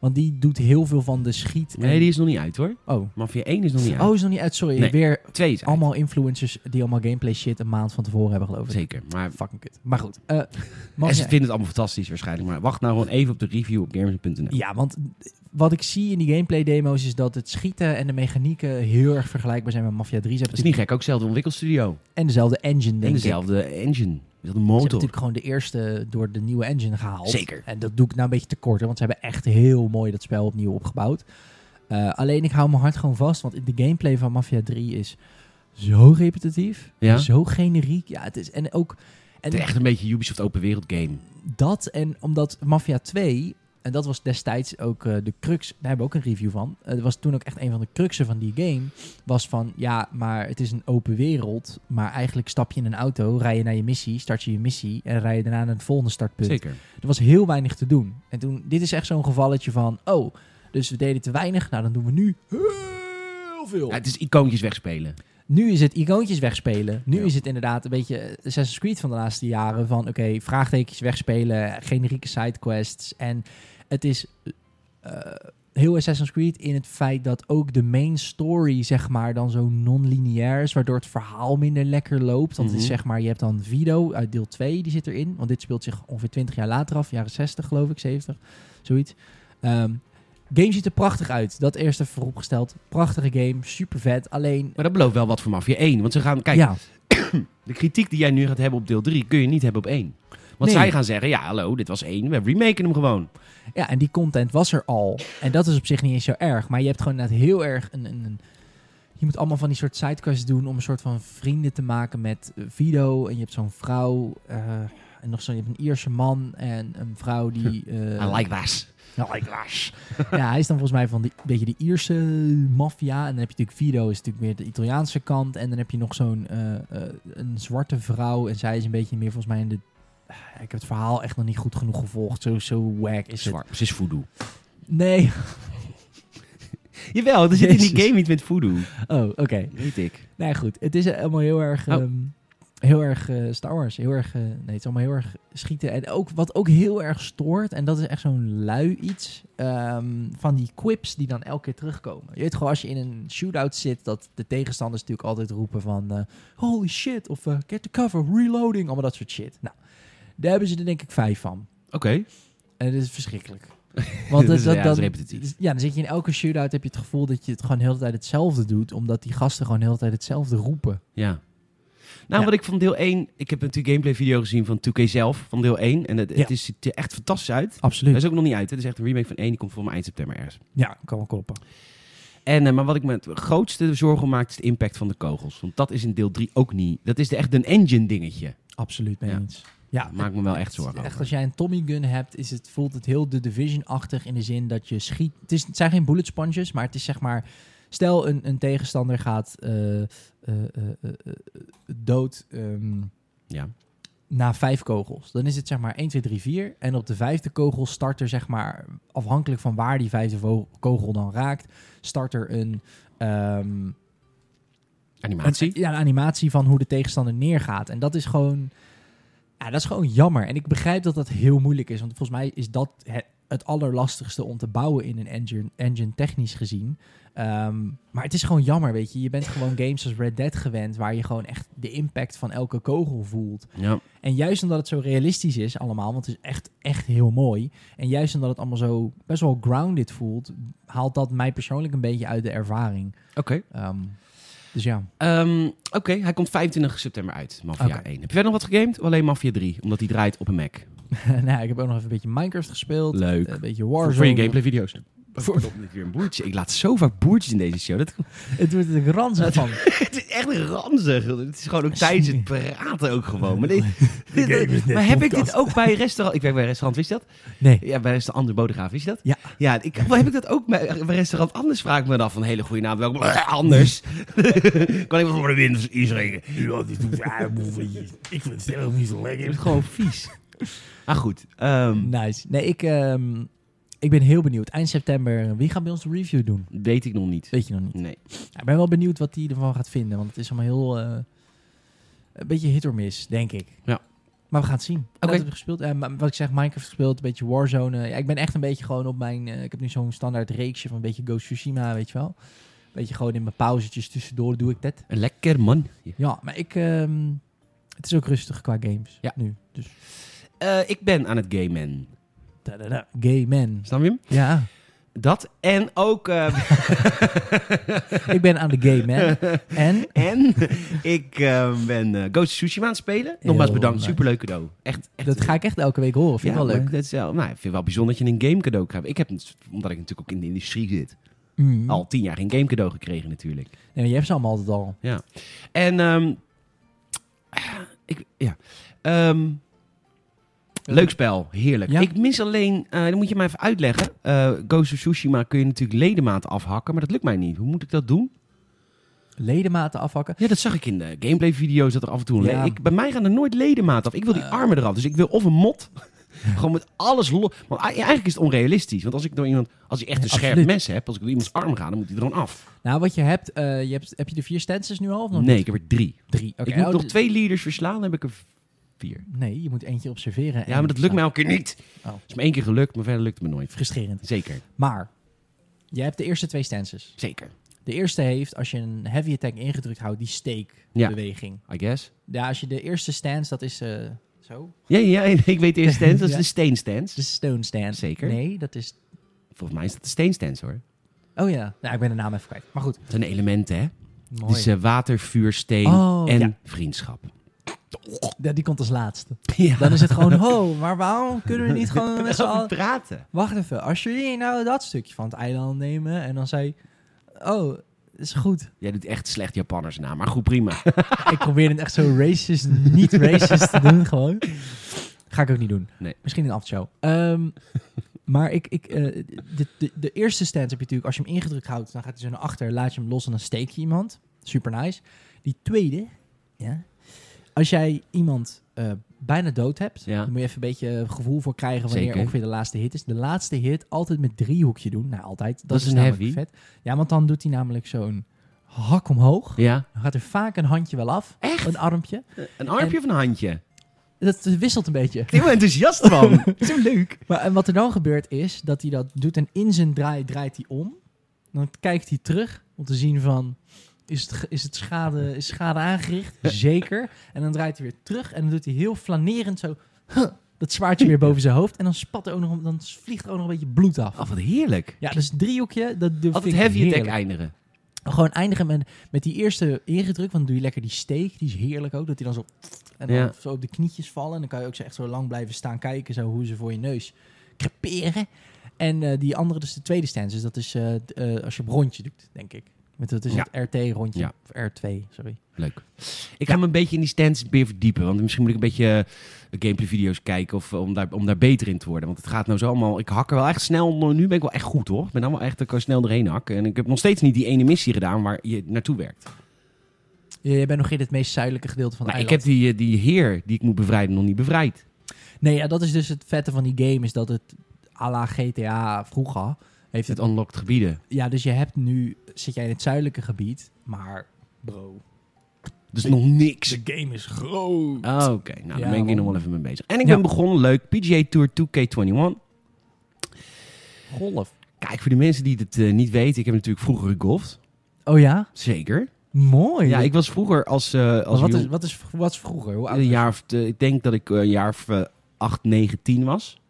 S2: Want die doet heel veel van de schiet. en-
S1: Nee, die is nog niet uit hoor.
S2: Oh.
S1: Mafia 1 is nog niet uit.
S2: Oh, is nog niet uit. Sorry,
S1: Nee.
S2: weer
S1: 2 is uit.
S2: allemaal influencers die allemaal gameplay shit een maand van tevoren hebben geloof ik.
S1: Zeker, maar
S2: Fucking kut. Maar goed. eh,
S1: En ze
S2: Mafia...
S1: vinden het allemaal fantastisch waarschijnlijk. Maar wacht nou gewoon even op de review op gamers.nl.
S2: Ja, want wat ik zie in die gameplay demo's is dat het schieten en de mechanieken heel erg vergelijkbaar zijn met Mafia 3. Ze
S1: Dat
S2: hebben
S1: is niet gek, ook dezelfde ontwikkelstudio.
S2: natuurlijk- En dezelfde engine,
S1: En
S2: denk ik.
S1: dezelfde engine, dezelfde
S2: Ze hebben
S1: motor.
S2: natuurlijk gewoon de eerste door de nieuwe engine gehaald.
S1: Zeker.
S2: En dat doe ik nou een beetje tekort, hè, want ze hebben echt heel mooi dat spel opnieuw opgebouwd. Eh, alleen ik hou mijn hart gewoon vast, want de gameplay van Mafia 3 is zo repetitief,
S1: Ja?
S2: zo generiek. Ja, het is en ook en
S1: Het is echt een beetje Ubisoft open wereld game.
S2: dat en omdat Mafia 2 en dat was destijds ook eh, de crux. Daar hebben we ook een review van. Eh, dat was toen ook echt een van de cruxen van die game. Was van ja, maar het is een open wereld. Maar eigenlijk stap je in een auto, rij je naar je missie, start je je missie en rij je daarna naar het volgende startpunt.
S1: Zeker.
S2: Er was heel weinig te doen. En toen, dit is echt zo'n gevalletje van, oh, dus we deden te weinig. Nou, dan doen we nu heel veel.
S1: Ja, het is icoontjes wegspelen.
S2: Nu is het icoontjes wegspelen. Nu
S1: Ja.
S2: is het inderdaad een beetje eh, Assassin's Creed van de laatste jaren. Van oké, vraagtekens wegspelen, generieke sidequests. En het is eh, heel Assassin's Creed in het feit dat ook de main story, zeg maar, dan zo non-lineair is. Waardoor het verhaal minder lekker loopt. Want het is
S1: Mhm.
S2: zeg maar, je hebt dan Vido uit deel 2, die zit erin. Want dit speelt zich ongeveer 20 jaar later af, jaren 60 geloof ik, 70, zoiets. Ehm game ziet er prachtig uit. Dat eerst even vooropgesteld. Prachtige game, super vet. Alleen
S1: Maar dat belooft wel wat voor Mafia 1. Want ze gaan, kijk,
S2: ja,
S1: de kritiek die jij nu gaat hebben op deel 3 kun je niet hebben op 1. Want
S2: Nee.
S1: zij gaan zeggen, ja hallo, dit was 1, we remaken hem gewoon.
S2: ja, en die content was er al. En dat is op zich niet eens zo erg. Maar je hebt gewoon inderdaad heel erg een... een, een- je moet allemaal van die soort sidequests doen om een soort van vrienden te maken met eh, Vido. En je hebt zo'n vrouw eh, en nog zo'n... Je hebt een Ierse man en een vrouw die... eh,
S1: I like that.
S2: I like that. ja, hij is dan volgens mij van die beetje de Ierse maffia. En dan heb je natuurlijk Vido, is natuurlijk meer de Italiaanse kant. En dan heb je nog zo'n eh, eh, een zwarte vrouw. En zij is een beetje meer volgens mij in de... eh, Ik heb het verhaal echt nog niet goed genoeg gevolgd. Zo, zo wack is het.
S1: Zwart, ze is voodoo.
S2: Nee.
S1: Jawel, er zit in die
S2: Jezus.
S1: game niet met voodoo.
S2: Oh, oké.
S1: Weet ik.
S2: Nou ja, goed. Het is eh, allemaal heel erg...
S1: Oh.
S2: ehm, heel erg eh, Star Wars. Heel erg, eh, nee, het is allemaal heel erg schieten. En ook, wat ook heel erg stoort, en dat is echt zo'n lui iets, ehm, van die quips die dan elke keer terugkomen. Je weet gewoon, als je in een shootout zit, dat de tegenstanders natuurlijk altijd roepen van... eh, Holy shit, of eh, get the cover, reloading, allemaal dat soort shit. Nou, daar hebben ze er denk ik vijf van.
S1: Oké.
S2: En dat Eh, is verschrikkelijk.
S1: Dat
S2: Want dat,
S1: is-
S2: dat,
S1: ja, dat
S2: dan,
S1: is repetitief.
S2: Ja, dan zit je in elke shootout, heb je het gevoel dat je het gewoon heel de tijd hetzelfde doet, omdat die gasten gewoon heel de tijd hetzelfde roepen.
S1: Ja. Nou,
S2: Ja.
S1: wat ik van deel 1... Ik heb natuurlijk gameplay video gezien van 2K zelf, van deel 1. En het,
S2: Ja. Hm.
S1: het is, ziet er echt fantastisch uit.
S2: Absoluut.
S1: Dat is ook nog niet uit. hè. Het is echt een remake van 1. Die komt voor mijn eind september ergens.
S2: Dus- Ja, kan wel kloppen.
S1: En, eh, maar wat ik me het grootste zorgen om maak, is de impact van de kogels. Want dat is in deel 3 ook niet. Dat is de, echt een engine dingetje.
S2: Absoluut mee
S1: Ja.
S2: eens. Ja,
S1: Dat maakt me wel echt zorgen
S2: Echt,
S1: over.
S2: als jij een Tommy gun hebt, is het, voelt het heel de Division-achtig in de zin dat je schiet. Het, is, het zijn geen bullet sponges, maar het is zeg maar. Stel een, een tegenstander gaat eh, eh, eh, eh, eh, dood ehm,
S1: Ja.
S2: na vijf kogels. Dan is het zeg maar 1, 2, 3, 4. En op de vijfde kogel start er zeg maar, afhankelijk van waar die vijfde vo- kogel dan raakt, start er een. ehm,
S1: Animatie.
S2: een- ja, een animatie van hoe de tegenstander neergaat. En dat is gewoon... Ja, dat is gewoon jammer. En ik begrijp dat dat heel moeilijk is. Want volgens mij is dat het, het allerlastigste om te bouwen in een engine, engine technisch gezien. Ehm, maar het is gewoon jammer, weet je. Je bent gewoon games als Red Dead gewend... waar je gewoon echt de impact van elke kogel voelt.
S1: Ja.
S2: En juist omdat het zo realistisch is allemaal... want het is echt, echt heel mooi... en juist omdat het allemaal zo best wel grounded voelt... haalt dat mij persoonlijk een beetje uit de ervaring.
S1: Oké.
S2: Ehm, dus ja...
S1: Ehm, Oké, hij komt 25 september uit, Mafia
S2: Oké.
S1: 1. Heb je verder nog wat gegamed? Of alleen Mafia 3? Omdat die draait op een Mac.
S2: nou, ik heb ook nog even een beetje Minecraft gespeeld. eh,
S1: Leuk.
S2: Een beetje
S1: Voor,
S2: Warzone.
S1: voor je gameplay video's. Verdomme, dit weer een boertje. Ik laat zo vaak boertjes in deze show. Dat,
S2: Het wordt er ranzig van.
S1: het is echt ranzig. Het is gewoon ook tijdens het praten ook gewoon. Maar, dit- dit-
S2: game is net
S1: maar heb ik
S2: podcast.
S1: dit ook bij een restaurant? Ik werk bij een restaurant, wist je dat?
S2: Nee.
S1: Ja, bij restaurant André Bodegraaf, wist je dat?
S2: Ja.
S1: Ja, ik, wel, heb ik dat ook bij, bij restaurant Anders? Vraag ik me dan van hele goede naam. Welkom, anders. kan ik wat voor de winst inschrijven?
S3: Ja, die doet aardappelvliegjes. Ik vind het zelf niet zo
S1: Het
S3: lekker.
S1: is gewoon vies. Maar goed. ehm,
S2: Nice. Nee, ik, ehm, ik ben heel benieuwd. Eind september, wie gaat bij ons de review doen?
S1: weet ik nog niet.
S2: Weet je nog niet.
S1: Nee.
S2: Ja, ik ben wel benieuwd wat hij ervan gaat vinden. Want het is allemaal heel... eh, een beetje hit or miss, denk ik.
S1: Ja.
S2: Maar we gaan het zien.
S1: Oké.
S2: Dat heb ik gespeeld. Eh, maar wat ik zeg, Minecraft gespeeld, een beetje Warzone. Ja, ik ben echt een beetje gewoon op mijn... eh, ik heb nu zo'n standaard reeksje van een beetje Ghost Tsushima, weet je wel. beetje gewoon in mijn pauzetjes tussendoor doe ik dat.
S1: Lekker man.
S2: Ja, maar ik... ehm, het is ook rustig qua games
S1: Ja.
S2: nu. Dus,
S1: Eh, ik ben aan het gamen.
S2: tadada, gay man.
S1: Snap je hem?
S2: Ja,
S1: Dat en ook... eh,
S2: ik ben aan de gay man. En?
S1: en ik eh, ben eh Ghost of Tsushima aan het spelen. Nogmaals
S2: Heel
S1: bedankt.
S2: nice.
S1: Superleuk cadeau. Echt, echt
S2: Dat ga ik echt elke week horen. Vind ik wel
S1: maar
S2: leuk.
S1: Dat is wel, nou, ik vind het wel bijzonder dat je een game cadeau krijgt. Ik heb, omdat ik natuurlijk ook in de industrie zit,
S2: Mm.
S1: al tien jaar geen game cadeau gekregen natuurlijk.
S2: Nee, maar je hebt ze allemaal altijd al.
S1: En ehm, eh, ik, ja, ehm, leuk spel, heerlijk.
S2: Ja.
S1: Ik mis alleen, eh dan moet je mij even uitleggen. Eh Ghost of Tsushima kun je natuurlijk ledemaat afhakken, maar dat lukt mij niet. Hoe moet ik dat doen?
S2: Ledematen afhakken.
S1: Ja, dat zag ik in de gameplay-video's dat er af en toe. een le-
S2: Ja.
S1: Ik, bij mij gaan er nooit ledemaat af. Ik wil die
S2: Eh.
S1: armen eraf. Dus ik wil of een mot. gewoon met alles los. Want ei- eigenlijk is het onrealistisch. Want als ik door iemand, als ik echt een
S2: Ja,
S1: scherp
S2: absoluut.
S1: mes heb, als ik door iemands arm ga, dan moet die er gewoon af.
S2: Nou, wat je hebt, eh, je hebt... Heb je de vier stances nu al? Of nog
S1: Nee,
S2: niet?
S1: ik heb er drie.
S2: Drie. Oké.
S1: ik moet
S2: oh,
S1: nog
S2: d-
S1: twee leaders verslaan, dan heb ik er vier.
S2: Nee, je moet eentje observeren.
S1: Ja,
S2: en-
S1: maar dat lukt mij elke keer niet.
S2: Oh.
S1: Het is me één keer gelukt, maar verder lukt het me nooit.
S2: Frustrerend.
S1: Zeker,
S2: Maar, jij hebt de eerste twee stances.
S1: zeker.
S2: De eerste heeft, als je een heavy attack ingedrukt houdt, die
S1: Ja.
S2: steekbeweging.
S1: I guess.
S2: Ja, als je de eerste stance, dat is eh, zo.
S1: Ja, ja, ik weet de eerste stance. Dat is
S2: Ja. Dus-
S1: de steenstance.
S2: De stone stand.
S1: Zeker.
S2: Nee, dat is...
S1: Volgens mij is dat de steenstance hoor.
S2: Oh ja, nou, ik ben de naam even kwijt. Maar goed,
S1: Dat zijn elementen, hè?
S2: mooi.
S1: Dus eh, water, vuur, steen
S2: Oh,
S1: en
S2: ja.
S1: vriendschap.
S2: Ja, die komt als laatste.
S1: Ja.
S2: Dan is het gewoon, ho, maar waarom kunnen we niet gewoon met z'n allen...
S1: praten.
S2: Wacht even, als jullie nou dat stukje van het eiland nemen en dan zei... Oh, is goed.
S1: Jij doet echt slecht Japanners na, maar goed, prima.
S2: ik probeer het echt zo racist, niet racist te doen gewoon. Ga ik ook niet doen.
S1: Nee.
S2: Misschien een aftershow. Ehm, maar ik, ik, eh, de, de, de eerste stand heb je natuurlijk, als je hem ingedrukt houdt, dan gaat hij zo naar achter, laat je hem los en dan steek je iemand. Super nice. Die tweede, ja, als jij iemand eh, bijna dood hebt,
S1: Ja.
S2: dan moet je even een beetje gevoel voor krijgen wanneer
S1: Zeker.
S2: ongeveer de laatste hit is. De laatste hit altijd met driehoekje doen. Nou, altijd. Dat,
S1: Dat is een
S2: namelijk
S1: heavy.
S2: Vet. Ja, want dan doet hij namelijk zo'n hak omhoog.
S1: Ja.
S2: Dan gaat er vaak een handje wel af.
S1: Echt?
S2: Een armpje.
S1: Een armpje of een handje?
S2: Dat wisselt een beetje.
S1: Ik ben enthousiast van.
S2: Zo leuk. Maar en wat er dan gebeurt is dat hij dat doet en in zijn draai draait hij om. Dan kijkt hij terug om te zien van is het, ge- is het schade, is schade aangericht? Zeker. En dan draait hij weer terug en dan doet hij heel flanerend zo huh, dat zwaardje weer boven zijn hoofd en dan spat er ook nog om- dan vliegt er ook nog een beetje bloed af.
S1: Oh, wat heerlijk.
S2: Ja, dus een driehoekje. Dat dat
S1: Altijd
S2: vind ik
S1: heavy attack
S2: heerlijk.
S1: eindigen.
S2: Gewoon eindigen met, met die eerste ingedruk. Want dan doe je lekker die steek. Die is heerlijk ook. Dat hij dan zo, en dan
S1: Ja.
S2: zo op de knietjes vallen. En dan kan je ook zo echt zo lang blijven staan kijken. Zo hoe ze voor je neus creperen. En eh, die andere, dus de tweede stance. Dus dat is eh, d- eh, als je op rondje doet, denk ik. Met, dat is
S1: Ja.
S2: het RT-rondje.
S1: Ja.
S2: Of R2, sorry.
S1: Leuk. Ik ga me een beetje in die stands weer verdiepen. Want misschien moet ik een beetje eh, gameplay-video's kijken of, eh, om, daar, om daar beter in te worden. Want het gaat nou zo allemaal... Ik hak er wel echt snel... nou, Nu ben ik wel echt goed, hoor. Ik ben allemaal echt... Ik kan snel doorheen hakken. En ik heb nog steeds niet die ene missie gedaan waar je naartoe werkt.
S2: Ja, jij bent nog in het meest zuidelijke gedeelte van het
S1: Maar ik
S2: eiland.
S1: heb die, eh, die heer die ik moet bevrijden nog niet bevrijd.
S2: Nee, ja, dat is dus het vette van die game. Is dat het à la GTA vroeger... Heeft
S1: Het
S2: het
S1: unlocked gebieden.
S2: ja, dus je hebt nu... Zit jij in het zuidelijke gebied. Maar bro,
S1: Dus nog niks.
S3: De game is groot.
S1: Oh, Oké, nou
S2: Ja,
S1: dan ben ik hier nog
S2: man.
S1: wel even mee bezig. En ik
S2: Ja.
S1: ben begonnen, leuk, PGA Tour 2K21.
S2: golf.
S1: Kijk, voor de mensen die het eh, niet weten, ik heb natuurlijk vroeger gegolfd.
S2: Oh ja?
S1: Zeker.
S2: Mooi.
S1: Ja, ik was vroeger als... eh, als
S2: Maar wat, is,
S1: jong-
S2: wat, is, v- wat is vroeger? Hoe oud
S1: een
S2: was je?
S1: jaar of, eh, ik denk dat ik eh, een jaar of eh, 8, 9, 10 was.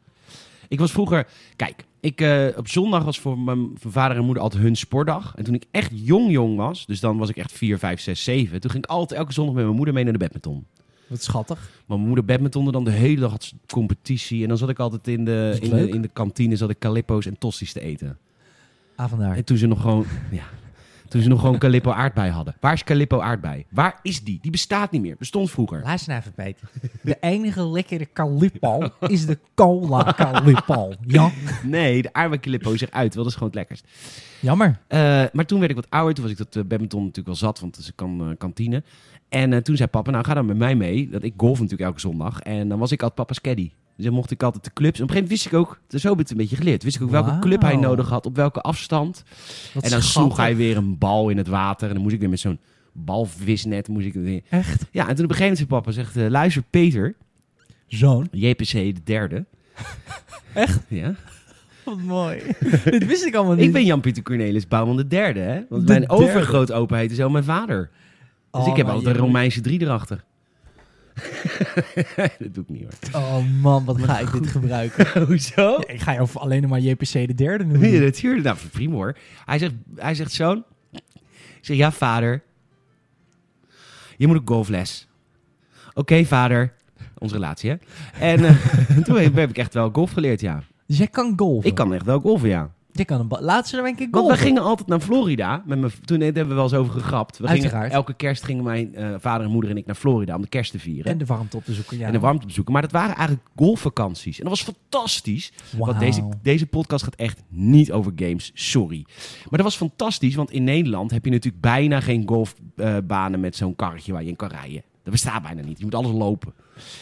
S1: Ik was vroeger... Kijk, ik, eh, op zondag was voor mijn voor vader en moeder altijd hun sportdag. En toen ik echt jong jong was, dus dan was ik echt 4, 5, 6, 7. Toen ging ik altijd elke zondag met mijn moeder mee naar de badminton.
S2: Wat schattig.
S1: Maar mijn moeder badmintonde dan de hele dag had ze competitie. En dan zat ik altijd in de,
S2: Is het
S1: in de,
S2: leuk?
S1: in de kantine zat ik calippo's en tosti's te eten.
S2: Ah, vandaar.
S1: En toen ze nog gewoon... Ja, toen ze nog gewoon calippo aardbei hadden. Waar is calippo aardbei? Waar is die? Die bestaat niet meer. Bestond vroeger.
S2: Luister nou even, Peter. De enige lekkere kalipal is de cola kalipal. Ja.
S1: Nee, de aardbei calippo zegt uit. Wel, dat is gewoon het lekkerst.
S2: Jammer.
S1: Eh, maar toen werd ik wat ouder. Toen was ik dat eh, badminton natuurlijk wel zat. Want het is een kan, eh, kantine. En eh, toen zei papa, nou ga dan met mij mee. Dat ik golf natuurlijk elke zondag. En dan was ik altijd papa's caddy. Dus dan mocht ik altijd de clubs. Op een gegeven moment wist ik ook, zo heb ik het een beetje geleerd. Wist ik ook welke
S2: Wauw.
S1: club hij nodig had, op welke afstand.
S2: Wat
S1: en dan
S2: schattig.
S1: sloeg hij weer een bal in het water. En dan moest ik weer met zo'n balvisnet. Moest ik weer...
S2: Echt?
S1: Ja, en toen op een gegeven moment zei papa, zegt, eh, luister Peter,
S2: Zoon.
S1: JPC de derde. Echt? Ja.
S2: Wat mooi. Dit wist ik allemaal niet.
S1: Ik ben Jan-Pieter Cornelis Bouwman de derde, hè? Want
S2: De
S1: mijn
S2: derde.
S1: overgrootopa heette zo mijn vader. Dus
S2: Oh,
S1: ik heb
S2: maar
S1: altijd een
S2: je-
S1: Romeinse drie erachter. dat doe ik niet hoor.
S2: Oh man, wat ga ik dit gebruiken?
S1: Hoezo?
S2: Ik ga jou alleen maar JPC de derde noemen.
S1: Nee, natuurlijk. Nou, prima hoor. Hij zegt, hij zegt zoon. Ik zeg, ja vader. Je moet op golfles. Oké vader. Onze relatie hè. En eh, toen heb heb ik echt wel golf geleerd ja.
S2: Dus jij kan golven.
S1: Ik kan echt wel golfen ja.
S2: Jij kan een bal. Laat ze dan een keer
S1: Want
S2: golven.
S1: we gingen altijd naar Florida. Met mijn, toen nee, daar hebben we wel eens over gegrapt. We gingen,
S2: Uiteraard.
S1: elke kerst gingen mijn eh, vader en moeder en ik naar Florida om de kerst te vieren.
S2: En de warmte op te zoeken. Ja.
S1: en de warmte bezoeken. Maar dat waren eigenlijk golfvakanties. En dat was fantastisch. Want
S2: Wauw.
S1: deze, deze podcast gaat echt niet over games, sorry. Maar dat was fantastisch, want in Nederland heb je natuurlijk bijna geen golfbanen met zo'n karretje waar je in kan rijden. Dat bestaat bijna niet. Je moet alles lopen.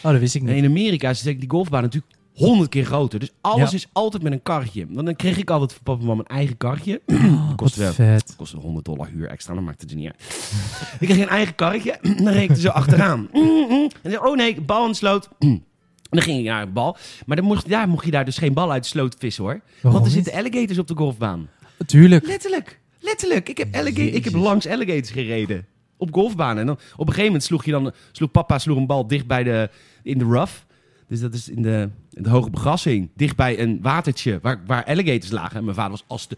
S2: Oh, dat wist ik
S1: En
S2: niet.
S1: in Amerika is die golfbaan natuurlijk honderd keer groter. Dus alles
S2: Ja.
S1: is altijd met een karretje. Want dan kreeg ik altijd van papa en mama een eigen karretje.
S2: Oh,
S1: kost
S2: wat
S1: wel.
S2: vet.
S1: Het kostte 100 dollar huur extra, dan maakt het er niet uit. ik kreeg een eigen karretje, dan reed ik er zo achteraan. Mm, mm. en zei, oh nee, bal in de sloot. Mm. En dan ging ik naar een bal. Maar dan mocht, daar mocht je daar dus geen bal uit de sloot vissen hoor. Want
S2: Waarom
S1: er
S2: niet?
S1: zitten alligators op de golfbaan.
S2: Tuurlijk.
S1: Letterlijk, letterlijk. Ik heb, alliga- ik heb
S2: Jezus.
S1: langs alligators gereden. Op golfbanen. En dan, op een gegeven moment sloeg, je dan, sloeg papa sloeg een bal dicht bij de, in de rough. Dus dat is in de, in de hoge begrassing. Dicht bij een watertje waar, waar alligators lagen. En mijn vader was als de...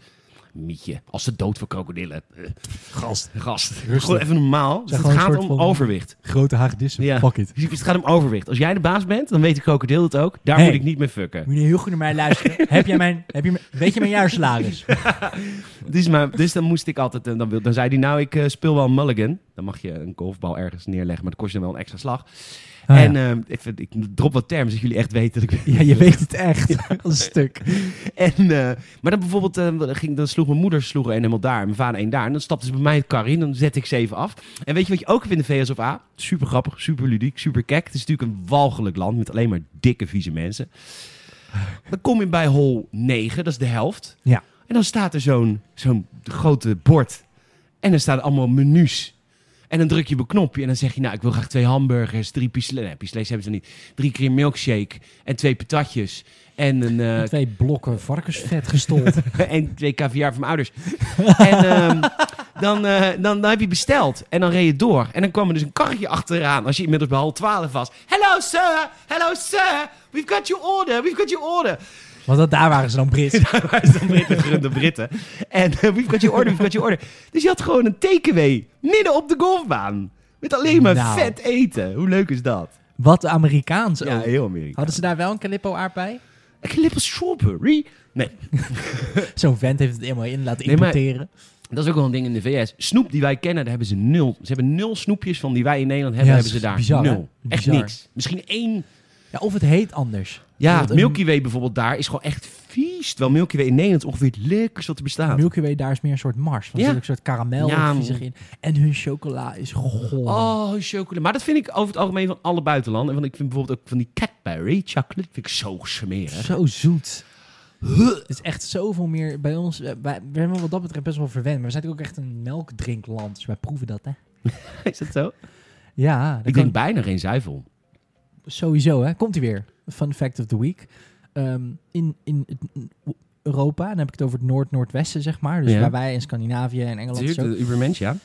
S1: Mietje, als de dood voor krokodillen. Eh,
S3: Gast.
S1: Gast, gewoon even normaal. Dus
S2: Zeg
S1: het
S2: gewoon een
S1: gaat om
S2: soort van-
S1: overwicht.
S2: Grote hagedissen.
S1: Ja.
S2: Fuck it.
S1: Dus het gaat om overwicht. Als jij de baas bent, dan weet de krokodil het ook. Daar
S2: Hey.
S1: moet ik niet mee fucken.
S2: Moet je heel goed naar mij luisteren. heb jij mijn, heb je, mijn- weet je mijn jaarsalaris?
S1: Dus, maar, dus dan moest ik altijd... eh, Dan, wil- dan zei hij, nou, ik eh, speel wel een mulligan. Dan mag je een golfbal ergens neerleggen, maar dat kost je dan wel een extra slag.
S2: Ah,
S1: en
S2: ja.
S1: eh, even, ik drop wat termen, zodat jullie echt weten dat ik...
S2: ja, je weet het echt. Als een stuk.
S1: En, eh, maar dan bijvoorbeeld, eh, ging, dan sloeg mijn moeder sloeg een helemaal daar, mijn vader één daar. En dan stapte ze bij mij het kar in, dan zette ik ze even af. En weet je wat je ook vindt in de VSFA? Super grappig, super ludiek, super kek. Het is natuurlijk een walgelijk land met alleen maar dikke, vieze mensen. Dan kom je bij hol 9, dat is de helft.
S2: Ja.
S1: En dan staat er zo'n zo'n grote bord. En dan staan allemaal menus. En dan druk je op een knopje en dan zeg je, nou, ik wil graag twee hamburgers, drie pislets. Nee, pislets hebben ze niet. Drie keer een milkshake en twee patatjes. En, een, eh,
S4: Met twee blokken varkensvet gestold.
S1: en twee caviar van mijn ouders. en ehm, dan, eh, dan, dan heb je besteld. En dan reed je door. En dan kwam er dus een karretje achteraan. Als je inmiddels bij half twaalf was. Hello sir, hello sir. We've got your order, we've got your order.
S2: Want dat, daar waren ze dan Brits.
S1: Waar is dan Britten, gerunde Britten. En eh, we've got your order, we've got your order. Dus je had gewoon een takeaway midden op de golfbaan. Met alleen maar
S2: Nou.
S1: vet eten. Hoe leuk is dat?
S2: Wat Amerikaans ook.
S1: Ja, heel Amerika.
S2: Hadden ze daar wel een calippo aardbei?
S1: Ik lip als strawberry.
S2: Zo'n vent heeft het helemaal in laten
S1: Nee, maar-
S2: importeren.
S1: Dat is ook wel een ding in de VS. Snoep die wij kennen, daar hebben ze nul. Ze hebben nul snoepjes van die wij in Nederland hebben,
S2: Ja,
S1: hebben ze
S2: dat
S1: daar
S2: is bizar,
S1: nul.
S2: hè?
S1: Echt
S2: Bizar.
S1: niks. Misschien één.
S2: Ja, of het heet anders.
S1: Ja,
S2: Wat een-
S1: Milky Way bijvoorbeeld daar is gewoon echt vies. Terwijl Milky Way in Nederland is ongeveer het lekkerste wat er bestaat.
S2: Milky Way, daar is meer een soort mars. Want
S1: Ja.
S2: er zit ook een soort karamel
S1: Ja,
S2: of viezig in. En hun chocola is goor.
S1: Oh, chocolade. Maar dat vind ik over het algemeen van alle buitenlanden. Want ik vind bijvoorbeeld ook van die Cadbury chocolate vind ik zo smerig.
S2: Zo zoet. Het is echt zoveel meer bij ons. eh, Wij, we hebben wat dat betreft best wel verwend. Maar we zijn natuurlijk ook echt een melkdrinkland. Dus wij proeven dat, hè?
S1: Is dat zo?
S2: Ja, dat
S1: Ik
S2: kan-
S1: drink bijna geen zuivel.
S2: sowieso, hè? Komt hij weer. Fun fact of the week. Ehm, in, in het- Europa, dan heb ik het over het noord-noordwesten, zeg maar. Dus
S1: Ja.
S2: waar wij in Scandinavië en Engeland
S1: Natuurlijk,
S2: zo.
S1: de Ubermensch, ja.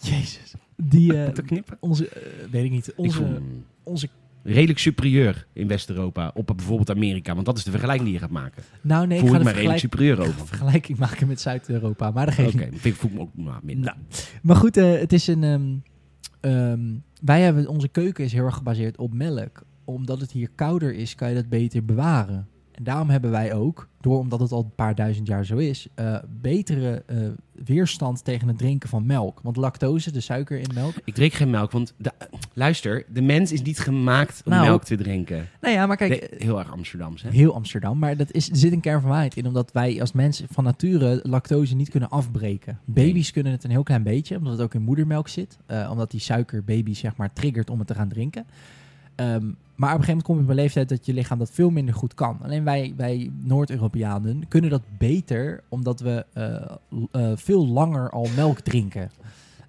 S2: Jezus. Die, eh,
S1: Te knippen.
S2: onze, eh, weet ik niet,
S1: Ik
S2: onze,
S1: voel me
S2: onze,
S1: redelijk superieur in West-Europa op bijvoorbeeld Amerika. Want dat is de vergelijking die je gaat maken.
S2: nou nee, ik
S1: voel
S2: ga
S1: ik
S2: de
S1: me redelijk
S2: vergelijk,
S1: superieur over.
S2: vergelijking maken met Zuid-Europa, maar dat geeft
S1: Oké,
S2: niet.
S1: maar ik voel me ook nou, minder.
S2: Nou, maar goed, eh, het is een. ehm, ehm, wij hebben onze keuken is heel erg gebaseerd op melk. Omdat het hier kouder is, kan je dat beter bewaren. En daarom hebben wij ook, door omdat het al een paar duizend jaar zo is, eh, betere eh, weerstand tegen het drinken van melk. Want lactose, de suiker in melk.
S1: Ik drink geen melk, want de- luister, de mens is niet gemaakt om
S2: Nou,
S1: melk te drinken.
S2: Nou ja, maar kijk,
S1: Nee, heel erg Amsterdamse. Hè?
S2: Heel Amsterdam, maar dat is, er zit een kern van waarheid in. Omdat wij als mensen van nature lactose niet kunnen afbreken.
S1: Nee.
S2: Baby's kunnen het een heel klein beetje, omdat het ook in moedermelk zit. eh, omdat die suiker baby's zeg maar triggert om het te gaan drinken. Ehm, maar op een gegeven moment kom je op een leeftijd dat je lichaam dat veel minder goed kan. Alleen wij, wij Noord-Europeanen kunnen dat beter, omdat we eh, l- eh, veel langer al melk drinken.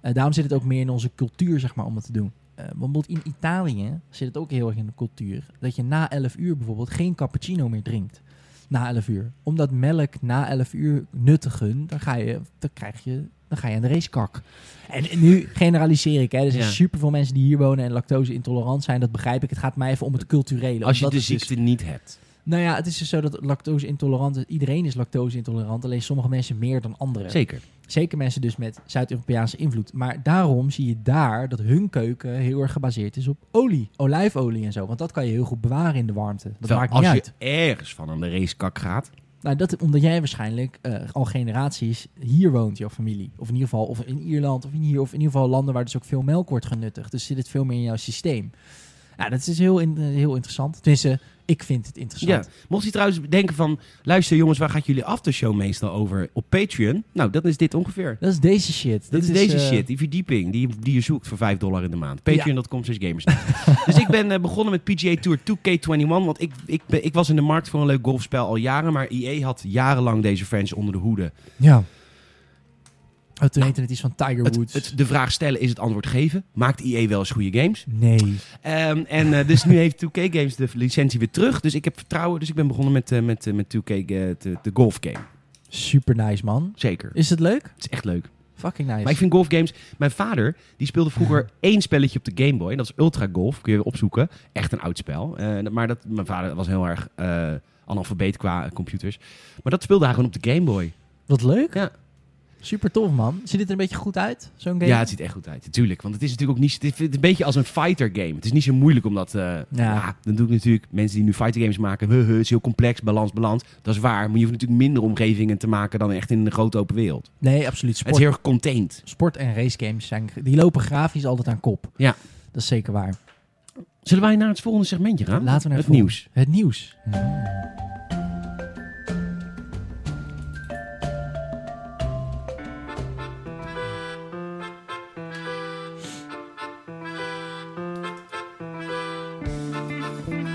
S2: Eh, daarom zit het ook meer in onze cultuur, zeg maar, om dat te doen. Eh, want bijvoorbeeld in Italië zit het ook heel erg in de cultuur. Dat je na 11 uur bijvoorbeeld geen cappuccino meer drinkt. Na 11 uur. Omdat melk na 11 uur nuttigen, dan ga je, dan krijg je, dan ga je aan de racekak. En, en nu generaliseer ik, hè. Er zijn
S1: Ja.
S2: superveel mensen die hier wonen en lactose intolerant zijn. Dat begrijp ik. Het gaat mij even om het culturele.
S1: Als je
S2: omdat
S1: de
S2: het dus-
S1: ziekte niet hebt.
S2: nou ja, het is dus zo dat lactose intolerant... Iedereen is lactose intolerant. Alleen sommige mensen meer dan anderen.
S1: Zeker.
S2: Zeker mensen dus met Zuid-Europese invloed. Maar daarom zie je daar dat hun keuken heel erg gebaseerd is op olie. Olijfolie en zo. Want dat kan je heel goed bewaren in de warmte. Dat
S1: Terwijl
S2: maakt
S1: als
S2: niet
S1: je
S2: uit.
S1: ergens van aan de racekak gaat.
S2: Nou, dat omdat jij waarschijnlijk eh, al generaties hier woont, jouw familie. Of in ieder geval of in Ierland of in, hier, of in ieder geval landen waar dus ook veel melk wordt genuttigd. Dus zit het veel meer in jouw systeem. Ja, dat is dus heel, in- heel interessant. Tenminste, ik vind het
S1: Ja.
S2: interessant.
S1: Mocht je trouwens denken van, luister jongens, waar gaat jullie aftershow meestal over? Op Patreon? Nou, dat is dit ongeveer.
S2: Dat is deze shit.
S1: Dat
S2: Dit
S1: is deze
S2: eh,
S1: shit, die verdieping die, die je zoekt voor 5 dollar in de maand. Patreon.com slash gamers. dus ik ben eh, begonnen met PGA Tour 2K21. Want ik, ik, ben- ik was in de markt voor een leuk golfspel al jaren. Maar EA had jarenlang deze franchise onder de hoede.
S2: Ja. Oh, toen heette het iets van Tiger
S1: Het,
S2: Woods.
S1: het, de vraag stellen is het antwoord geven. Maakt EA wel eens goede games?
S2: nee.
S1: Ehm, en eh, dus nu heeft 2K Games de licentie weer terug. Dus ik heb vertrouwen. Dus ik ben begonnen met, eh, met, eh, met 2K eh, de, de golf game.
S2: Super nice, man.
S1: Zeker.
S2: Is het leuk?
S1: Het is echt leuk.
S2: Fucking nice.
S1: Maar ik vind golfgames... Mijn vader, die speelde vroeger één spelletje op de Game Boy. En dat is Ultra Golf. Kun je opzoeken. Echt een oud spel. Eh, dat- maar dat, mijn vader was heel erg eh, analfabeet qua eh, computers. Maar dat speelde hij gewoon op de Game Boy.
S2: Wat leuk.
S1: Ja.
S2: Super tof, man. Ziet het er een beetje goed uit, zo'n game?
S1: Ja, het ziet er echt goed uit. Natuurlijk. Want het is natuurlijk ook niet... Het is een beetje als een fighter game. Het is niet zo moeilijk om dat... eh, ah, dan doe ik natuurlijk... Mensen die nu fighter games maken... Huh, huh, het is heel complex. Balans, balans. Dat is waar. Maar je hoeft natuurlijk minder omgevingen te maken... dan echt in een grote open wereld.
S2: Nee, absoluut.
S1: Het
S2: Sport,
S1: is heel erg contained.
S2: sport en race games zijn, die lopen grafisch altijd aan kop.
S1: Ja.
S2: Dat is zeker waar.
S1: Zullen wij naar het volgende segmentje gaan?
S2: Laten we naar
S1: het
S2: volgende.
S1: nieuws.
S2: Het nieuws.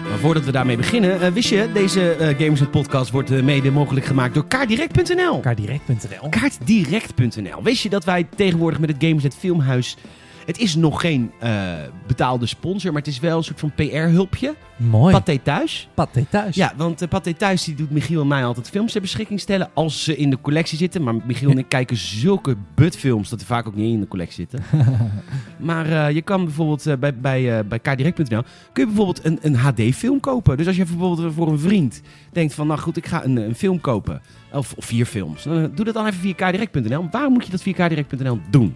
S1: Maar voordat we daarmee beginnen, eh, wist je, deze eh, Gamers Net Podcast wordt eh, mede mogelijk gemaakt door kaardirect.nl.
S4: Kaardirect.nl.
S1: Kaartdirect.nl. Wist je dat wij tegenwoordig met het Games Net Filmhuis. Het is nog geen eh, betaalde sponsor, maar het is wel een soort van PR-hulpje.
S4: Mooi.
S1: Pathé Thuis.
S2: Pathé thuis.
S1: Ja, want eh, Pathé Thuis die doet Michiel en mij altijd films ter beschikking stellen. Als ze in de collectie zitten. Maar Michiel en ik kijken zulke butfilms dat er vaak ook niet in de collectie zitten. maar eh, je kan bijvoorbeeld eh, bij, bij, eh, bij kdirect.nl kun je bijvoorbeeld een, een HD-film kopen. Dus als je bijvoorbeeld voor een vriend denkt van, nou goed, ik ga een, eh, een film kopen. Of, of vier films. Dan, eh, doe dat dan even via kdirect.nl. Waarom moet je dat via kdirect.nl doen?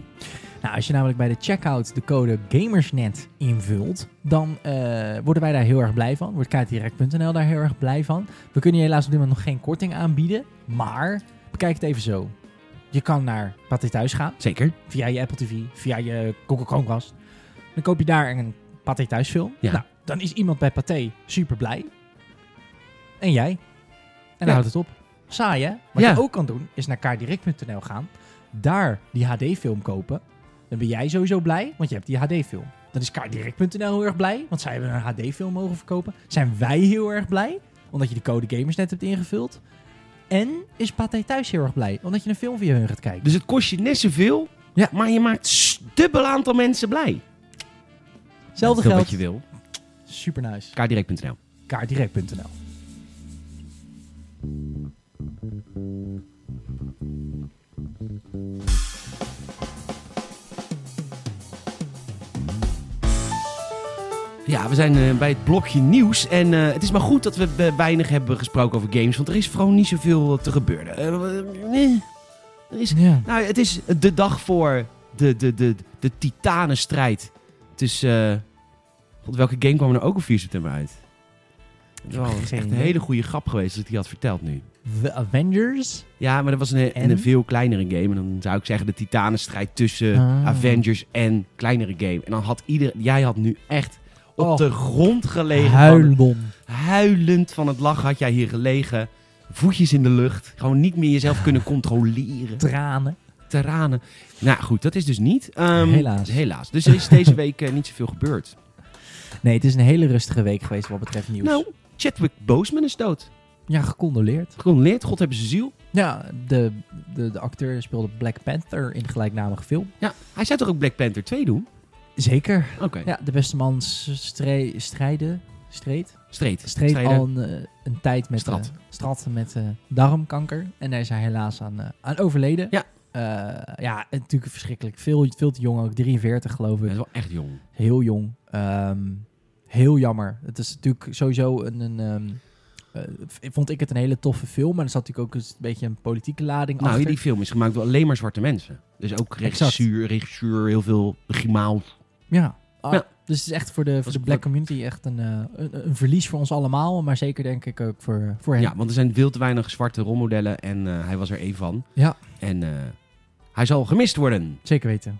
S2: Nou, als je namelijk bij de checkout de code GAMERSNET invult, dan eh, worden wij daar heel erg blij van. Wordt kaartdirect.nl daar heel erg blij van. We kunnen je helaas op dit moment nog geen korting aanbieden, maar bekijk het even zo. Je kan naar Pathé Thuis gaan,
S1: Zeker.
S2: via je Apple TV, via je Google Chromecast. Dan koop je daar een Pathé Thuis film.
S1: Ja.
S2: Nou, dan is iemand bij Pathé super blij. En jij. En dan
S1: Ja.
S2: houdt het op. Saai hè? Wat
S1: Ja.
S2: je ook kan doen, is naar kaardirect.nl gaan. Daar die HD-film kopen. Dan ben jij sowieso blij, want je hebt die HD-film. Dan is kaardirect.nl heel erg blij, want zij hebben een HD-film mogen verkopen. Zijn wij heel erg blij, omdat je de code gamers net hebt ingevuld. En is Pathé Thuis heel erg blij, omdat je een film via hun gaat kijken.
S1: Dus het kost je net zoveel,
S2: Ja.
S1: maar je maakt s- dubbel aantal mensen blij.
S2: Hetzelfde
S1: Doe
S2: geldt.
S1: wat je wil.
S2: Super nice.
S1: kdirect.nl.
S2: kaartdirect.nl.
S1: Ja, we zijn eh, bij het blokje nieuws. En eh, het is maar goed dat we eh, weinig hebben gesproken over games. Want er is gewoon niet zoveel te gebeuren. Eh, nee. Er is,
S2: Ja.
S1: nou, het is de dag voor de, de, de, de titanenstrijd. Tussen. eh, God, welke game kwam er nou ook op 4 september uit? Het is wel echt
S2: geen
S1: een
S2: idee.
S1: hele goede grap geweest als ik die had verteld nu.
S2: The Avengers.
S1: Ja, maar dat was een,
S2: En?
S1: een veel kleinere game. En dan zou ik zeggen de titanenstrijd tussen
S2: Ah.
S1: Avengers en kleinere game. En dan had ieder... Jij had nu echt op
S2: Och.
S1: de grond gelegen. van-
S2: Huilbom.
S1: huilend van het lachen had jij hier gelegen. Voetjes in de lucht. Gewoon niet meer jezelf kunnen controleren.
S2: Tranen.
S1: Tranen. Nou goed, dat is dus niet. Ehm,
S2: Helaas.
S1: Helaas. Dus er is deze week eh, niet zoveel gebeurd.
S2: Nee, het is een hele rustige week geweest wat betreft nieuws.
S1: Nou, Chadwick Boseman is dood.
S2: Ja, gecondoleerd.
S1: Gecondoleerd. God hebben zijn ziel.
S2: Ja, de, de, de acteur speelde Black Panther in de gelijknamige film.
S1: Ja, hij zou toch ook Black Panther 2 doen?
S2: Zeker.
S1: Oké.
S2: Ja, de beste man s- stree- strijden. Streed?
S1: Streed.
S2: Streed
S1: Strijden.
S2: al een, eh, een tijd met,
S1: Strat.
S2: eh, strat met eh, darmkanker. En daar is hij helaas aan, eh, aan overleden.
S1: Ja.
S2: Eh, ja, en natuurlijk verschrikkelijk. Veel, veel te jong ook. 43 geloof
S1: Hij
S2: ik.
S1: is wel echt jong.
S2: Heel jong. Ehm, heel jammer. Het is natuurlijk sowieso een. een ehm, eh, v- vond ik het een hele toffe film. Maar er zat natuurlijk ook een s- beetje een politieke lading
S1: Nou,
S2: achter.
S1: die film is gemaakt door alleen maar zwarte mensen. Dus ook regisseur, regisseur, heel veel grimaal.
S2: Ja. Ah,
S1: Ja.
S2: Dus het is echt voor de, voor
S1: Was-
S2: de black community echt een, eh, een, een verlies voor ons allemaal. Maar zeker denk ik ook voor, voor hem.
S1: Ja, want er zijn veel te weinig zwarte rolmodellen en eh, hij was er één van.
S2: Ja.
S1: En eh, hij zal gemist worden.
S2: Zeker weten.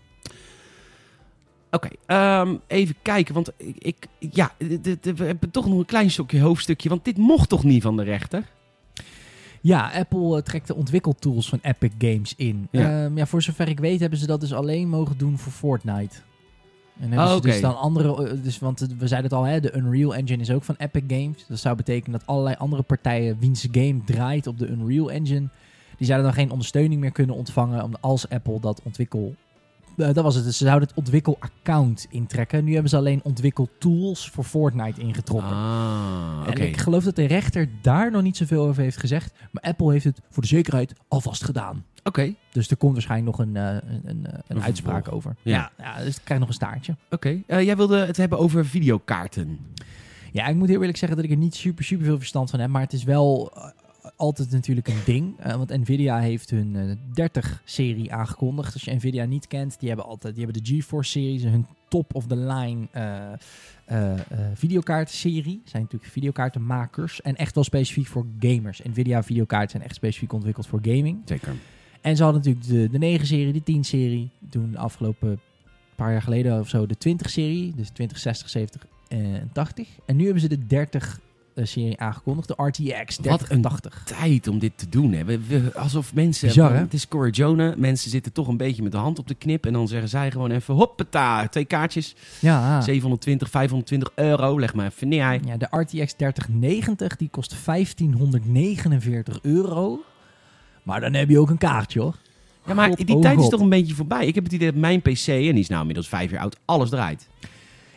S1: Oké, ehm, even kijken, want ik, ik ja, d- d- d- we hebben toch nog een klein stukje hoofdstukje, want dit mocht toch niet van de rechter?
S2: Ja, Apple eh, trekt de ontwikkeltools van Epic Games in.
S1: Ja.
S2: Ja. ja, voor zover ik weet hebben ze dat dus alleen mogen doen voor Fortnite. En hebben
S1: Oh,
S2: ze
S1: oké.
S2: dus dan andere... eh, Dus, want het- we zeiden het al, hè, de Unreal Engine is ook van Epic Games. Dat zou betekenen dat allerlei andere partijen wiens game draait op de Unreal Engine... die zouden dan geen ondersteuning meer kunnen ontvangen om- als Apple dat ontwikkel... Eh, dat was het. Dus ze zouden het ontwikkelaccount intrekken. Nu hebben ze alleen ontwikkeltools voor Fortnite ingetrokken.
S1: Ah, oké.
S2: En ik geloof dat de rechter daar nog niet zoveel over heeft gezegd. Maar Apple heeft het voor de zekerheid alvast gedaan.
S1: Oké,
S2: Dus er komt waarschijnlijk nog een, eh, een, een, eh, een
S1: vervolg.
S2: uitspraak over.
S1: Ja.
S2: Ja. ja, dus ik krijg nog een staartje.
S1: oké. Eh, jij wilde het hebben over videokaarten.
S2: Ja, ik moet heel eerlijk zeggen dat ik er niet super, super veel verstand van heb. Maar het is wel eh, altijd natuurlijk een ding. Eh, want Nvidia heeft hun 30-serie aangekondigd. Als je Nvidia niet kent, die hebben altijd die hebben de GeForce-series. Hun top-of-the-line eh eh eh, videokaartserie. Zijn natuurlijk videokaartenmakers. En echt wel specifiek voor gamers. Nvidia videokaarten zijn echt specifiek ontwikkeld voor gaming.
S1: Zeker.
S2: En ze hadden natuurlijk de, de 9-serie, de 10-serie. Toen de afgelopen paar jaar geleden of zo de 20-serie. Dus 20, 60, 70 en 80. En nu hebben ze de 30 serie aangekondigd. De RTX
S1: Wat een
S2: 3080.
S1: tijd om dit te doen. Hè. We, we- alsof mensen...
S2: Bizar,
S1: van,
S2: hè?
S1: Het is Corrigione. Mensen zitten toch een beetje met de hand op de knip. En dan zeggen zij gewoon even... Hoppata, twee kaartjes.
S2: Ja.
S1: 720, 520 euro. Leg maar even neer.
S2: ja, de RTX 3090 die kost 1549 euro. Maar dan heb je ook een kaartje hoor.
S1: Ja, maar
S2: God,
S1: die
S2: oh
S1: tijd is
S2: God.
S1: toch een beetje voorbij. Ik heb het idee dat mijn PC... En die is nou inmiddels vijf jaar oud. Alles draait.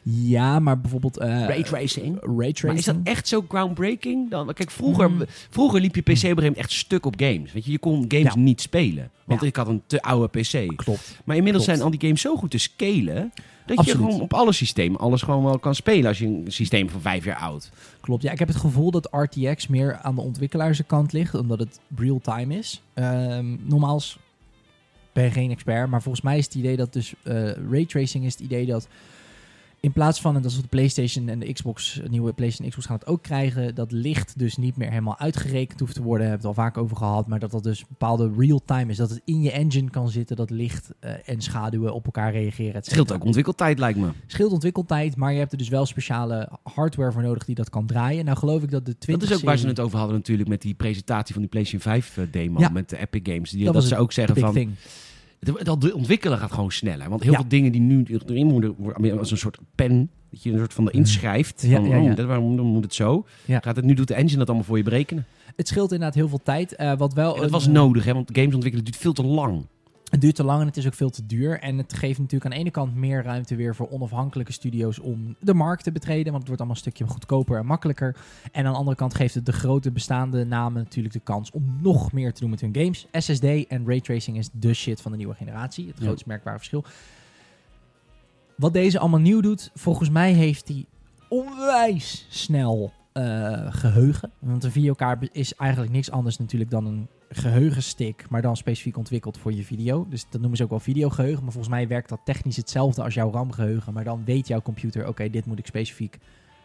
S2: Ja, maar bijvoorbeeld... eh
S1: Racing. Maar
S2: Raytracing.
S1: is dat echt zo groundbreaking? Dan, kijk, vroeger,
S2: Mm.
S1: vroeger liep je PC op een gegeven moment echt stuk op games. Weet je, je kon games
S2: Ja.
S1: niet spelen. Want
S2: Ja.
S1: ik had een te oude PC.
S2: Klopt.
S1: Maar inmiddels
S2: Klopt.
S1: zijn al die games zo goed te scalen. dat
S2: Absoluut.
S1: je gewoon op alle systemen alles gewoon wel kan spelen. als je een systeem van vijf jaar oud.
S2: Klopt, ja. Ik heb het gevoel dat RTX meer aan de ontwikkelaarskant ligt, omdat het real-time is. Ehm normaals ben je geen expert, maar volgens mij is het idee dat dus eh raytracing is het idee dat in plaats van, en dat is wat de PlayStation en de Xbox, de nieuwe PlayStation en Xbox gaan het ook krijgen, dat licht dus niet meer helemaal uitgerekend hoeft te worden. Hebben we het al vaak over gehad, maar dat dat dus bepaalde real-time is. Dat het in je engine kan zitten, dat licht eh, en schaduwen op elkaar reageren. et
S1: Het scheelt
S2: cetera.
S1: ook ontwikkeltijd, lijkt me.
S2: Scheelt ontwikkeltijd, maar je hebt er dus wel speciale hardware voor nodig die dat kan draaien. Nou geloof ik dat de 20
S1: Dat is ook waar ze
S2: serie-
S1: het over hadden, natuurlijk. met die presentatie van die PlayStation 5 eh, demo.
S2: Ja.
S1: met de Epic Games. Die,
S2: Dat
S1: dat
S2: was
S1: ze ook zeggen
S2: big
S1: van.
S2: thing.
S1: De- Dat de ontwikkelen gaat gewoon sneller. Want heel
S2: Ja.
S1: veel dingen die nu erin moeten worden, als een soort pen, dat je een soort van erin schrijft.
S2: Ja,
S1: van,
S2: ja, ja.
S1: oh, dat, waarom moet het zo?
S2: Ja.
S1: Gaat het, nu doet de engine dat allemaal voor je berekenen.
S2: Het scheelt inderdaad heel veel tijd. eh, wat wel
S1: En dat
S2: een,
S1: was
S2: eh,
S1: nodig, hè, want games ontwikkelen duurt veel te lang.
S2: Het duurt te lang en het is ook veel te duur. En het geeft natuurlijk aan de ene kant meer ruimte weer voor onafhankelijke studio's om de markt te betreden. Want het wordt allemaal een stukje goedkoper en makkelijker. En aan de andere kant geeft het de grote bestaande namen natuurlijk de kans om nog meer te doen met hun games. SSD en raytracing is de shit van de nieuwe generatie. Het
S1: Ja.
S2: grootste merkbare verschil. Wat deze allemaal nieuw doet, volgens mij heeft die onwijs snel eh, geheugen. Want een videokaart is eigenlijk niks anders natuurlijk dan een geheugenstick, maar dan specifiek ontwikkeld voor je video. Dus dat noemen ze ook wel videogeheugen. Maar volgens mij werkt dat technisch hetzelfde als jouw RAM-geheugen. Maar dan weet jouw computer, oké, dit moet ik specifiek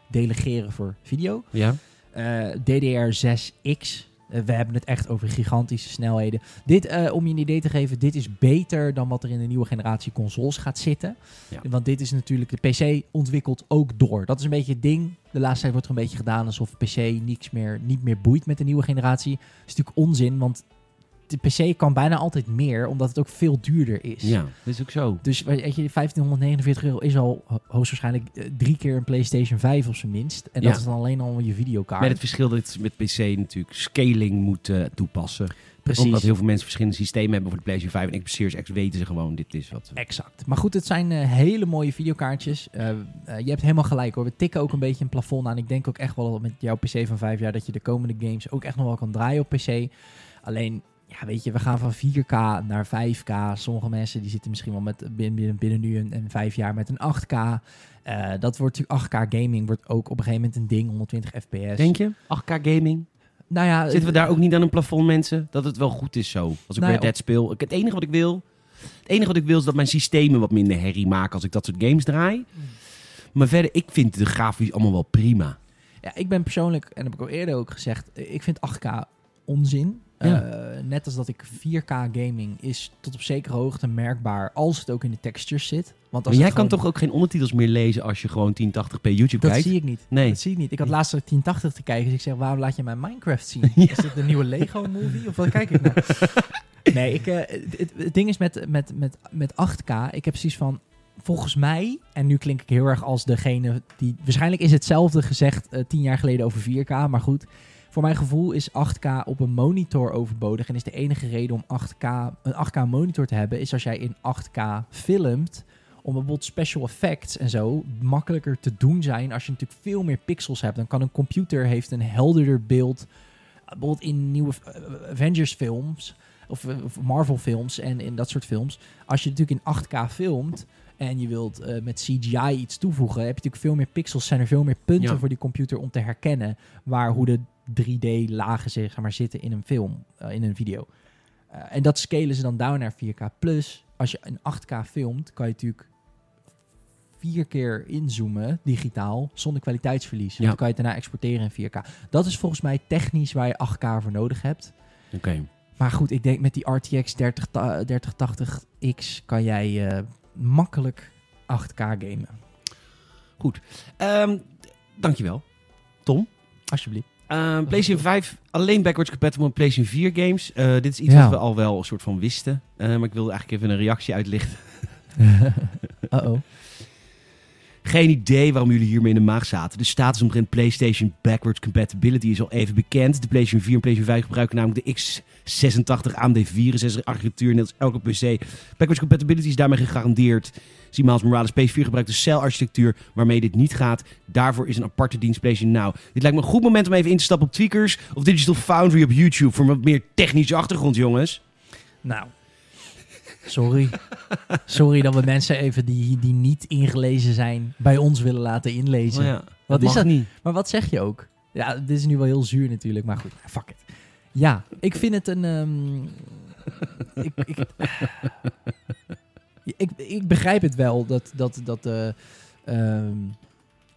S2: delegeren voor video.
S1: Ja.
S2: Eh, DDR6X. Eh, we hebben het echt over gigantische snelheden. Dit, eh, om je een idee te geven, dit is beter dan wat er in de nieuwe generatie consoles gaat zitten.
S1: Ja.
S2: Want dit is natuurlijk, de PC ontwikkelt ook door. Dat is een beetje het ding. De laatste tijd wordt er een beetje gedaan alsof PC niks meer, niet meer boeit met de nieuwe generatie. Dat is natuurlijk onzin, want de PC kan bijna altijd meer, omdat het ook veel duurder is.
S1: ja, dat is ook zo.
S2: Dus weet je, 1549 euro is al ho- hoogstwaarschijnlijk eh, drie keer een PlayStation 5 op zijn minst. En dat
S1: Ja.
S2: is dan alleen al je videokaart.
S1: Met het verschil dat je met PC natuurlijk scaling moet eh, toepassen. Omdat heel veel mensen verschillende systemen hebben voor de PlayStation 5 en Xbox Series X weten ze gewoon dit is wat.
S2: Exact. Maar goed, het zijn eh, hele mooie videokaartjes. Eh, eh, je hebt helemaal gelijk hoor. We tikken ook een beetje een plafond aan. Ik denk ook echt wel dat met jouw PC van vijf jaar dat je de komende games ook echt nog wel kan draaien op PC. Alleen, ja, weet je, we gaan van 4K naar 5K. Sommige mensen die zitten misschien wel met binnen, binnen, binnen nu en, en vijf jaar met een 8K. Eh, dat wordt natuurlijk 8K gaming wordt ook op een gegeven moment een ding, 120 fps.
S1: Denk je? 8K gaming?
S2: Nou ja,
S1: Zitten we daar ook niet aan een plafond, mensen? Dat het wel goed is zo. Als ik
S2: Nou ja,
S1: Red Dead speel. Ik, het enige wat ik wil... Het enige wat ik wil is dat mijn systemen wat minder herrie maken als ik dat soort games draai. Maar verder, ik vind de grafisch allemaal wel prima.
S2: Ja, ik ben persoonlijk, en dat heb ik al eerder ook gezegd, eh, ik vind 8K onzin.
S1: Ja.
S2: Eh, net als dat ik 4K gaming is tot op zekere hoogte merkbaar als het ook in de textures zit. Want
S1: Maar
S2: als
S1: jij
S2: het
S1: kan
S2: gewoon-
S1: toch ook geen ondertitels meer lezen als je gewoon 1080p YouTube
S2: Dat
S1: kijkt?
S2: zie ik niet.
S1: Nee.
S2: Dat zie ik niet. Ik had laatst ook 1080 te kijken, dus ik zeg, waarom laat je mijn Minecraft zien? Is dit de nieuwe Lego movie of wat kijk ik nou? nee, ik, eh, het, het- het ding is met, met, met, met 8K, ik heb precies van, volgens mij, en nu klink ik heel erg als degene die, waarschijnlijk is hetzelfde gezegd eh, tien jaar geleden over 4K, maar goed. Voor mijn gevoel is 8K op een monitor overbodig en is de enige reden om 8K, een 8K monitor te hebben, is als jij in 8K filmt, om bijvoorbeeld special effects en zo makkelijker te doen zijn als je natuurlijk veel meer pixels hebt. Dan kan een computer heeft een helderder beeld. Bijvoorbeeld in nieuwe eh, Avengers films of, eh, of Marvel films en in dat soort films. Als je natuurlijk in 8K filmt en je wilt eh, met CGI iets toevoegen, heb je natuurlijk veel meer pixels, zijn er veel meer punten
S1: Ja.
S2: voor die computer om te herkennen waar hoe de 3D lagen zeg maar, zitten in een film, eh, in een video. Eh, en dat scalen ze dan down naar 4K+. Plus, als je een 8K filmt, kan je natuurlijk vier keer inzoomen, digitaal, zonder kwaliteitsverlies.
S1: Ja.
S2: Dan kan je het daarna exporteren in 4K. Dat is volgens mij technisch waar je 8K voor nodig hebt.
S1: Oké.
S2: Maar goed, ik denk met die RTX 30, ta- eh, 3080X kan jij eh, makkelijk 8K gamen.
S1: Ehm, dankjewel, Tom.
S2: Alsjeblieft.
S1: Eh, PlayStation 5, alleen backwards compatible met PlayStation 4 games. Eh, dit is iets
S2: Ja.
S1: wat we al wel een soort van wisten. Eh, maar ik wilde eigenlijk even een reactie uitlichten.
S2: Uh-oh.
S1: Geen idee waarom jullie hiermee in de maag zaten. De status omtrent PlayStation backwards compatibility is al even bekend. De PlayStation 4 en PlayStation 5 gebruiken namelijk de x86 AMD 64 architectuur, net als elke PC. Backwards compatibility is daarmee gegarandeerd. Zie Miles Morales, PS4 gebruikt de cel-architectuur waarmee dit niet gaat. Daarvoor is een aparte dienst PlayStation Now. Dit lijkt me een goed moment om even in te stappen op Tweakers of Digital Foundry op YouTube voor wat meer technische achtergrond, jongens.
S2: Nou. Sorry. Sorry dat we mensen even die, die niet ingelezen zijn bij ons willen laten inlezen. Oh Wat is
S1: mag
S2: dat?
S1: niet?
S2: Maar wat zeg je ook? Ja, dit is nu wel heel zuur natuurlijk, maar goed, fuck it. Ja, ik vind het een. ehm, ik, ik, ik, ik begrijp het wel dat, dat, dat, eh, ehm,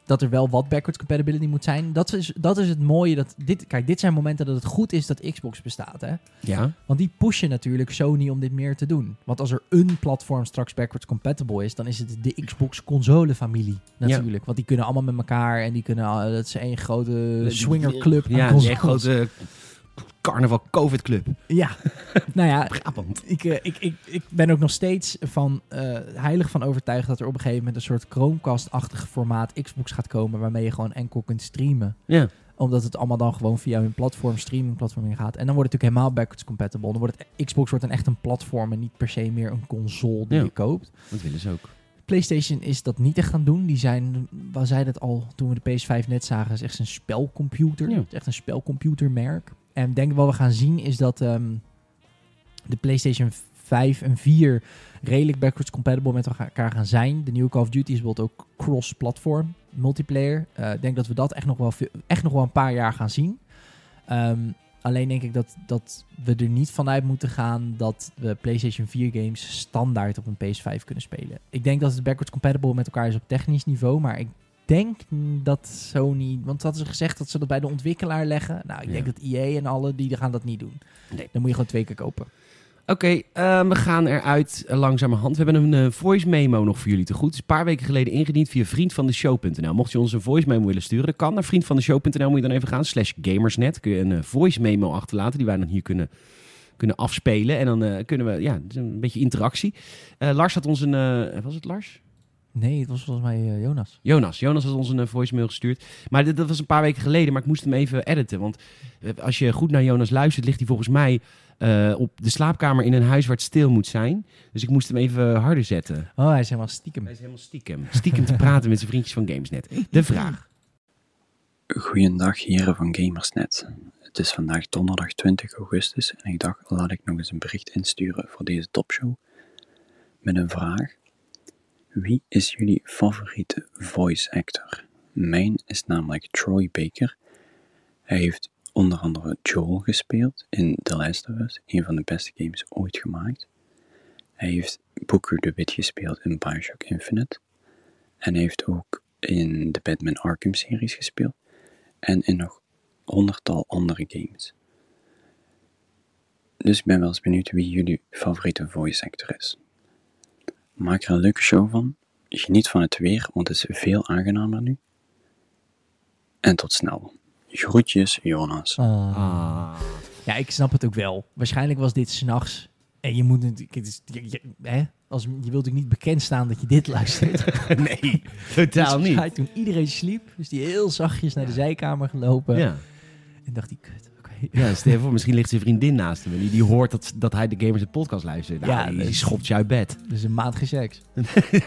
S2: dat er wel wat backwards compatibility moet zijn. Dat is, dat is het mooie. Dat dit, kijk, dit zijn momenten dat het goed is dat Xbox bestaat. Hè?
S1: Ja.
S2: Want die pushen natuurlijk Sony om dit meer te doen. Want als er een platform straks backwards compatible is, dan is het de Xbox console familie natuurlijk. Want die kunnen allemaal met elkaar en die kunnen al- dat is één grote swingerclub aan
S1: Ja,
S2: consoles.
S1: een grote carnaval covid club.
S2: Ja. nou ja,
S1: Brabant.
S2: ik, eh, ik, ik, ik ben ook nog steeds van, eh, heilig van overtuigd dat er op een gegeven moment een soort Chromecast-achtig formaat Xbox gaat komen waarmee je gewoon enkel kunt streamen.
S1: Ja.
S2: Omdat het allemaal dan gewoon via hun platform, streamingplatform ingaat. En dan wordt het natuurlijk helemaal backwards compatible. Dan wordt het, Xbox wordt dan echt een platform en niet per se meer een console die
S1: Ja.
S2: je koopt.
S1: Dat willen ze ook.
S2: PlayStation is dat niet echt gaan doen. Die zijn, waar zij dat al toen we de PS5 net zagen, is echt een spelcomputer.
S1: Ja.
S2: Het is echt een spelcomputermerk. En ik denk wat we gaan zien is dat ehm, de PlayStation 5 en 4 redelijk backwards compatible met elkaar gaan zijn. De nieuwe Call of Duty is bijvoorbeeld ook cross-platform multiplayer. Eh, ik denk dat we dat echt nog wel, veel- echt nog wel een paar jaar gaan zien. Ehm, alleen denk ik dat, dat we er niet vanuit moeten gaan dat we PlayStation 4 games standaard op een PS5 kunnen spelen. Ik denk dat het backwards compatible met elkaar is op technisch niveau, maar ik denk dat Sony, want hadden ze gezegd dat ze dat bij de ontwikkelaar leggen. Nou, ik denk
S1: Ja.
S2: dat EA en alle die gaan dat niet doen.
S1: Nee.
S2: Dan moet je gewoon twee keer kopen.
S1: Oké, eh, we gaan eruit eh, langzamerhand. We hebben een eh, voice memo nog voor jullie te goed. Het is een paar weken geleden ingediend via vriendvandeshow.nl. Mocht je ons een voice memo willen sturen, dat kan. Naar vriendvandeshow.nl moet je dan even gaan. Slash gamersnet. Kun je een eh, voice memo achterlaten die wij dan hier kunnen, kunnen afspelen. En dan eh, kunnen we, ja, het is een beetje interactie. Eh, Lars had ons een, eh, was het Lars?
S2: Nee, het was volgens mij eh, Jonas.
S1: Jonas. Jonas had ons een eh, voicemail gestuurd. Maar dit, dat was een paar weken geleden, maar ik moest hem even editen. Want eh, als je goed naar Jonas luistert, ligt hij volgens mij eh, op de slaapkamer in een huis waar het stil moet zijn. Dus ik moest hem even harder zetten.
S2: Oh, hij is helemaal stiekem.
S1: Hij is helemaal stiekem. Stiekem te praten met zijn vriendjes van Gamesnet. De vraag.
S5: Goeiedag heren van Gamersnet. Het is vandaag donderdag 20 augustus en ik dacht laat ik nog eens een bericht insturen voor deze topshow met een vraag. Wie is jullie favoriete voice actor? Mijn is namelijk Troy Baker. Hij heeft onder andere Joel gespeeld in The Last of Us, een van de beste games ooit gemaakt. Hij heeft Booker de Wit gespeeld in Bioshock Infinite. En hij heeft ook in de Batman Arkham series gespeeld en in nog honderdtal andere games. Dus ik ben wel eens benieuwd wie jullie favoriete voice actor is. Maak er een leuke show van. Geniet van het weer, want het is veel aangenamer nu. En tot snel. Groetjes, Jonas.
S1: Ah.
S2: Ja, ik snap het ook wel. Waarschijnlijk was dit s'nachts. En je moet natuurlijk... het is- Je, je, hè? Als, je wilt natuurlijk niet bekend staan dat je dit luistert.
S1: Nee, totaal
S2: Dus
S1: niet.
S2: hij toen iedereen sliep, is die heel zachtjes naar de zijkamer gelopen.
S1: Ja.
S2: En dacht hij, kut, oké.
S1: Ja, stel je voor, misschien ligt zijn vriendin naast hem en die, die hoort dat, dat hij de Gamers het podcast luistert. Nou,
S2: Ja,
S1: die,
S2: dat
S1: die
S2: is-
S1: schopt je uit bed.
S2: Dus een maand geen seks.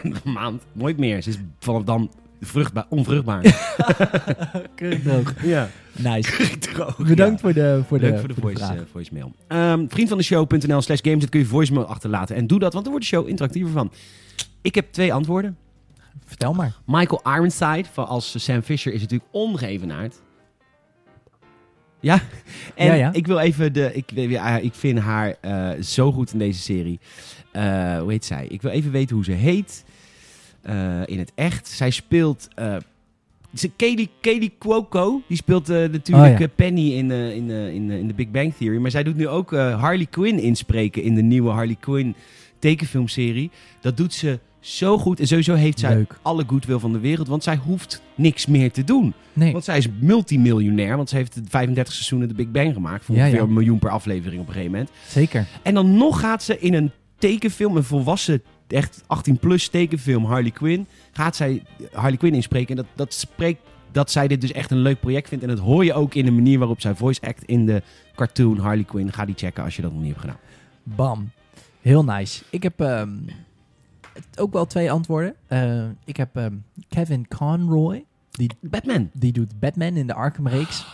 S1: Een maand, nooit meer. Ze is vanaf dan vruchtbaar, onvruchtbaar.
S2: Keurig
S1: Ja.
S2: Nice.
S1: Droog, ja.
S2: Bedankt voor de, voor de,
S1: Leuk voor de, voice,
S2: vraag.
S1: eh, voicemail. Ehm, vriend van de show.nl slash games, dat kun je voicemail achterlaten. En doe dat, want dan wordt de show interactiever van. Ik heb twee antwoorden.
S2: Vertel maar.
S1: Michael Ironside, van als Sam Fisher, is natuurlijk ongeëvenaard. Ja, en
S2: Ja, ja.
S1: ik wil even de. Ik, eh, ja, ik vind haar eh, zo goed in deze serie. Eh, hoe heet zij? Ik wil even weten hoe ze heet eh, in het echt. Zij speelt. eh, ze Katie, Katie Cuoco, die speelt eh, natuurlijk
S2: Oh, ja.
S1: eh, Penny in, eh, in, eh, in, eh, in The Big Bang Theory. Maar zij doet nu ook eh, Harley Quinn inspreken in de nieuwe Harley Quinn tekenfilmserie. Dat doet ze zo goed. En sowieso heeft zij
S2: Leuk.
S1: alle goodwill van de wereld, want zij hoeft niks meer te doen.
S2: Nee.
S1: Want zij is multimiljonair, want ze heeft 35 seizoenen de Big Bang gemaakt. Voor
S2: Ja,
S1: ongeveer
S2: ja.
S1: een miljoen per aflevering op een gegeven moment.
S2: Zeker.
S1: En dan nog gaat ze in een tekenfilm, een volwassen, echt 18-plus tekenfilm, Harley Quinn. Gaat zij Harley Quinn inspreken. En dat, dat spreekt dat zij dit dus echt een leuk project vindt. En dat hoor je ook in de manier waarop zij voice act in de cartoon Harley Quinn. Ga die checken als je dat nog niet hebt gedaan.
S2: Bam. Heel nice. Ik heb ehm, het- ook wel twee antwoorden. Eh, ik heb ehm, Kevin Conroy.
S1: Batman.
S2: Die doet Batman in de Arkham-reeks.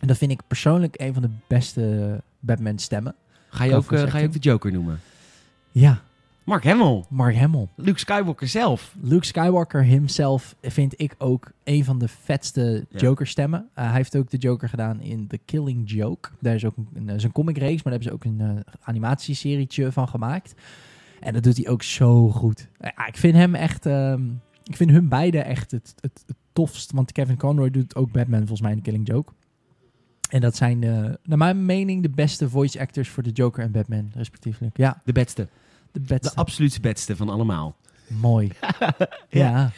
S2: En dat vind ik persoonlijk een van de beste Batman-stemmen.
S1: Ga je,
S2: Qua
S1: ook, eh,
S2: voice
S1: ga je ook de Joker noemen?
S2: Ja,
S1: Mark Hamill.
S2: Mark Hamill.
S1: Luke Skywalker zelf.
S2: Luke Skywalker himself vind ik ook een van de vetste
S1: Ja.
S2: Joker-stemmen. Uh, hij heeft ook de Joker gedaan in The Killing Joke. Daar is ook een, een, is een comic-reeks, maar daar hebben ze ook een eh, animatieserietje van gemaakt. En dat doet hij ook zo goed. Eh, Ja, ik vind hem echt... ehm, ik vind hun beiden echt het, het, het tofst. Want Kevin Conroy doet ook Batman volgens mij in The Killing Joke. En dat zijn, eh, naar mijn mening, de beste voice actors voor de Joker en Batman, respectievelijk. Ja,
S1: De beste.
S2: de beste.
S1: De absoluut beste van allemaal.
S2: Mooi. ja.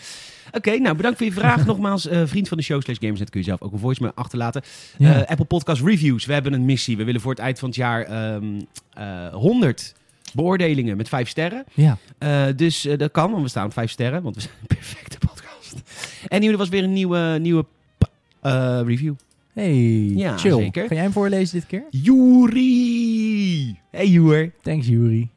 S1: Oké, nou bedankt voor je vraag. Nogmaals, eh, vriend van de show slash Gamersnet kun je zelf ook een voicemail achterlaten.
S2: ja.
S1: Eh, Apple Podcast Reviews. We hebben een missie. We willen voor het eind van het jaar ehm, eh, 100 beoordelingen met 5 sterren.
S2: ja.
S1: Eh, dus eh, dat kan, want we staan op 5 sterren. Want we zijn een perfecte podcast. En hier, er was weer een nieuwe, nieuwe p- eh, review.
S2: Hey,
S1: Ja,
S2: chill.
S1: zeker.
S2: Ga jij hem voorlezen dit keer?
S1: Juri! Hey Joer.
S2: Thanks, Juri.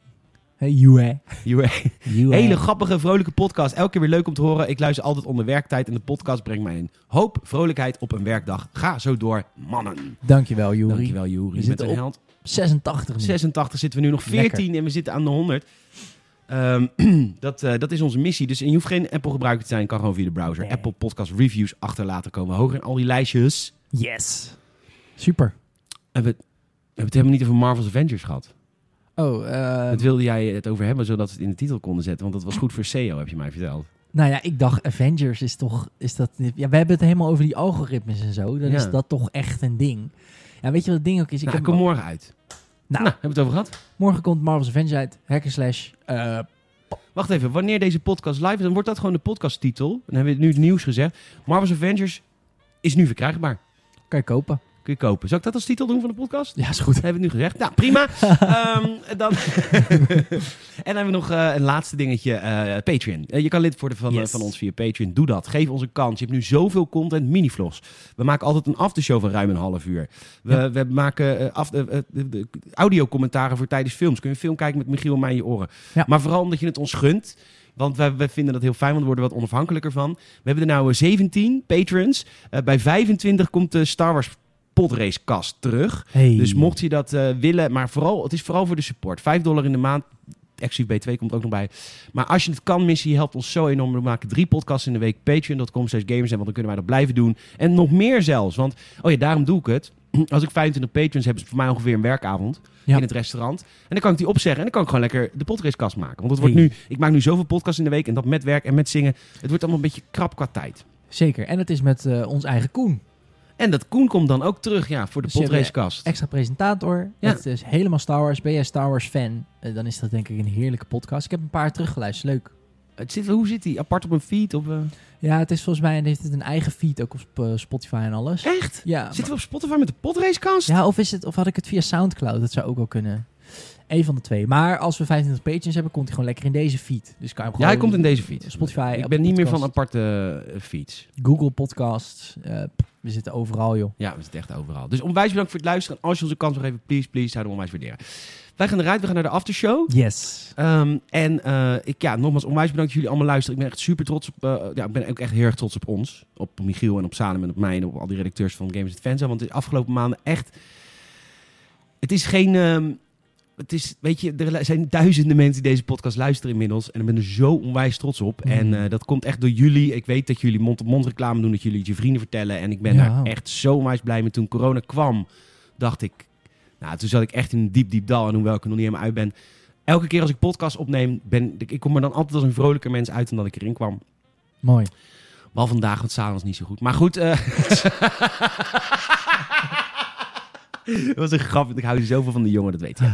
S2: Hey, Jue.
S1: Joer.
S2: Jue.
S1: Hele grappige, vrolijke podcast. Elke keer weer leuk om te horen. Ik luister altijd onder werktijd. En de podcast brengt mij een hoop vrolijkheid op een werkdag. Ga zo door, mannen.
S2: Dankjewel, Juri.
S1: Dankjewel Joeri.
S2: We
S1: Met
S2: zitten
S1: een
S2: op
S1: held.
S2: 86 nu.
S1: 86 zitten we nu nog 14
S2: Lekker.
S1: en we zitten aan de 100. Ehm, dat, eh, dat is onze missie. Dus en je hoeft geen Apple gebruiker te zijn. Je kan gewoon via de browser.
S2: Nee.
S1: Apple Podcast Reviews achterlaten komen. we Hoger in al die lijstjes.
S2: Yes. Super.
S1: En we, we hebben het helemaal niet over Marvel's Avengers gehad.
S2: Oh, eh,
S1: dat wilde jij het over hebben, zodat we het in de titel konden zetten. Want dat was goed voor SEO, heb je mij verteld.
S2: nou ja, ik dacht Avengers is toch... Is dat, ja, we hebben het helemaal over die algoritmes en zo. Dan
S1: Ja.
S2: is dat toch echt een ding. Ja, weet je wat het ding ook is? Ik
S1: Nou,
S2: heb
S1: ik kom morgen uit.
S2: Nou.
S1: Nou, hebben we het over gehad?
S2: morgen komt Marvel's Avengers uit. Hacker slash... eh,
S1: Wacht even, wanneer deze podcast live is, dan wordt dat gewoon de podcasttitel. Dan hebben we het nu het nieuws gezegd. Marvel's Avengers is nu verkrijgbaar.
S2: kan je kopen.
S1: Kun je kopen. Zal ik dat als titel doen van de podcast?
S2: Ja, is goed.
S1: Dat hebben we nu gezegd. Nou, prima. Ehm, dan... en dan hebben we nog eh, een laatste dingetje. eh, Patreon. Eh, je kan lid worden van, eh,
S2: Yes.
S1: van ons via Patreon. Doe dat. Geef ons een kans. Je hebt nu zoveel content. Minivlogs. We maken altijd een aftershow van ruim een half uur. We, we maken eh, af, eh, eh, de- de- audiocommentaren voor tijdens films. Kun je een film kijken met Michiel en mij in je oren.
S2: Ja.
S1: Maar vooral omdat je het ons gunt. Want wij, wij vinden dat heel fijn, want we worden wat onafhankelijker van. We hebben er nou eh, 17 patrons. Eh, bij 25 komt de Star Wars podrace kast terug.
S2: Hey.
S1: Dus mocht je dat eh, willen, maar vooral, het is vooral voor de support. 5 dollar in de maand. Exclusief B2 komt ook nog bij. Maar als je het kan missen, je helpt ons zo enorm. We maken drie podcasts in de week. Patreon.com slash gamers. En want dan kunnen wij dat blijven doen. En nog meer zelfs. Want, oh ja, daarom doe ik het. Als ik 25 patrons heb, is het voor mij ongeveer een werkavond.
S2: Ja.
S1: In het restaurant. En dan kan ik die opzeggen. En dan kan ik gewoon lekker de podcastkast maken. Want het wordt
S2: Hey.
S1: nu, ik maak nu zoveel podcasts in de week. En dat met werk en met zingen. Het wordt allemaal een beetje krap qua tijd.
S2: Zeker. En het is met eh, ons eigen Koen.
S1: En dat Koen komt dan ook terug, ja, voor de
S2: Dus je hebt, eh,
S1: podracekast.
S2: extra presentator.
S1: Ja.
S2: Het is helemaal Star Wars. Ben jij Star Wars fan? Eh, Dan is dat denk ik een heerlijke podcast. Ik heb een paar teruggeluisterd. Leuk.
S1: Het zit, hoe zit die? Apart op een feed? Op, eh,
S2: Ja, het is volgens mij en heeft het een eigen feed ook op Sp- eh, Spotify en alles.
S1: Echt?
S2: Ja.
S1: Zitten we op Spotify met de podracekast?
S2: Ja, of is het of had ik het via SoundCloud? Dat zou ook wel kunnen. Eén van de twee. Maar als we 25 pages hebben, komt hij gewoon lekker in deze feed. Dus kan je hem
S1: Ja, hij
S2: gewoon
S1: komt in deze feed.
S2: Spotify.
S1: ik
S2: Apple
S1: ben niet meer van
S2: Podcasts,
S1: aparte eh, feeds.
S2: Google Podcasts. eh, pff, we zitten overal, joh.
S1: Ja, we zitten echt overal. Dus onwijs bedankt voor het luisteren. En als je onze kans wil geven, please, please, zouden we onwijs waarderen. Wij gaan eruit, we gaan naar de aftershow.
S2: Yes.
S1: Ehm, en eh, ik, ja, nogmaals, onwijs bedankt dat jullie allemaal luisteren. Ik ben echt super trots op, eh, ja, ik ben ook echt heel erg trots op ons. Op Michiel en op Salem en op mij en op al die redacteurs van Games Fans. Want de afgelopen maanden echt, het is geen, ehm, het is, weet je, er zijn duizenden mensen die deze podcast luisteren inmiddels. En ik ben er zo onwijs trots op.
S2: Mm.
S1: En eh, dat komt echt door jullie. Ik weet dat jullie mond-op-mond reclame doen, dat jullie het je vrienden vertellen. En ik ben
S2: Ja.
S1: daar echt zo onwijs blij mee. Toen corona kwam, dacht ik, nou, toen zat ik echt in een diep, diep dal. En hoewel ik er nog niet helemaal uit ben. Elke keer als ik podcast opneem, ben, ik ik kom er dan altijd als een vrolijker mens uit dan dat ik erin kwam.
S2: Mooi.
S1: Wel vandaag, want s'avonds niet zo goed. Maar goed. eh dat was een grap, want ik hou zoveel van de jongen, dat weet je.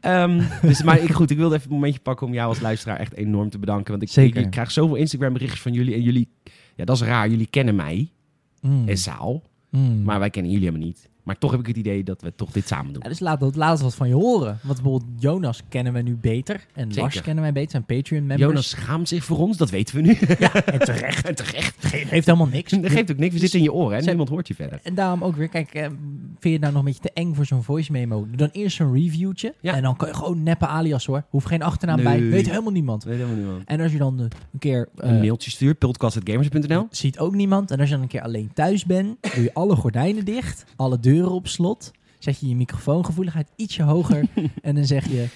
S1: Ehm, dus, maar ik, goed, ik wilde even een momentje pakken om jou als luisteraar echt enorm te bedanken. Want ik,
S2: Zeker.
S1: ik, ik krijg zoveel Instagram berichtjes van jullie. En jullie, ja, dat is raar. Jullie kennen mij
S2: Mm.
S1: en Saal.
S2: Mm.
S1: Maar wij kennen jullie helemaal niet. Maar toch heb ik het idee dat we toch dit samen doen.
S2: Ja, dus laat dat laatst wat van je horen. Want bijvoorbeeld Jonas kennen we nu beter. En
S1: Zeker.
S2: Lars kennen wij beter. Zijn Patreon-members.
S1: Jonas schaamt zich voor ons, dat weten we nu.
S2: En terecht.
S1: En terecht.
S2: Heeft helemaal niks.
S1: Dat geeft ook niks. We zitten in je oren en
S2: Zij-
S1: niemand hoort je verder.
S2: En daarom ook weer, kijk, eh, vind je het nou nog een beetje te eng voor zo'n voice memo? Doe dan eerst zo'n reviewtje.
S1: Ja.
S2: En dan kan je gewoon neppe alias hoor. Hoeft geen achternaam bij.
S1: Nee.
S2: Weet helemaal niemand.
S1: Dat weet helemaal niemand.
S2: En als je dan eh, een keer... eh,
S1: Een mailtje stuurt, podcast.gamers.nl.
S2: Ziet ook niemand. En als je dan een keer alleen thuis bent, doe je alle gordijnen dicht, alle deuren op slot. Zet je je microfoongevoeligheid ietsje hoger. en dan zeg je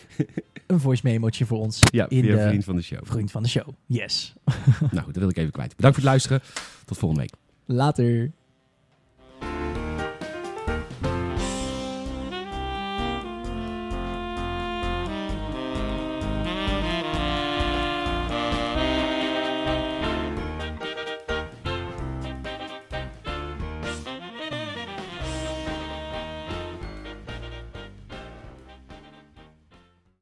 S2: een voice memootje voor ons
S1: Ja,
S2: in
S1: weer
S2: de
S1: vriend van de show.
S2: vriend van de show. Yes.
S1: Nou goed, dat wil ik even kwijt. Bedankt voor het luisteren. Tot volgende week.
S2: Later.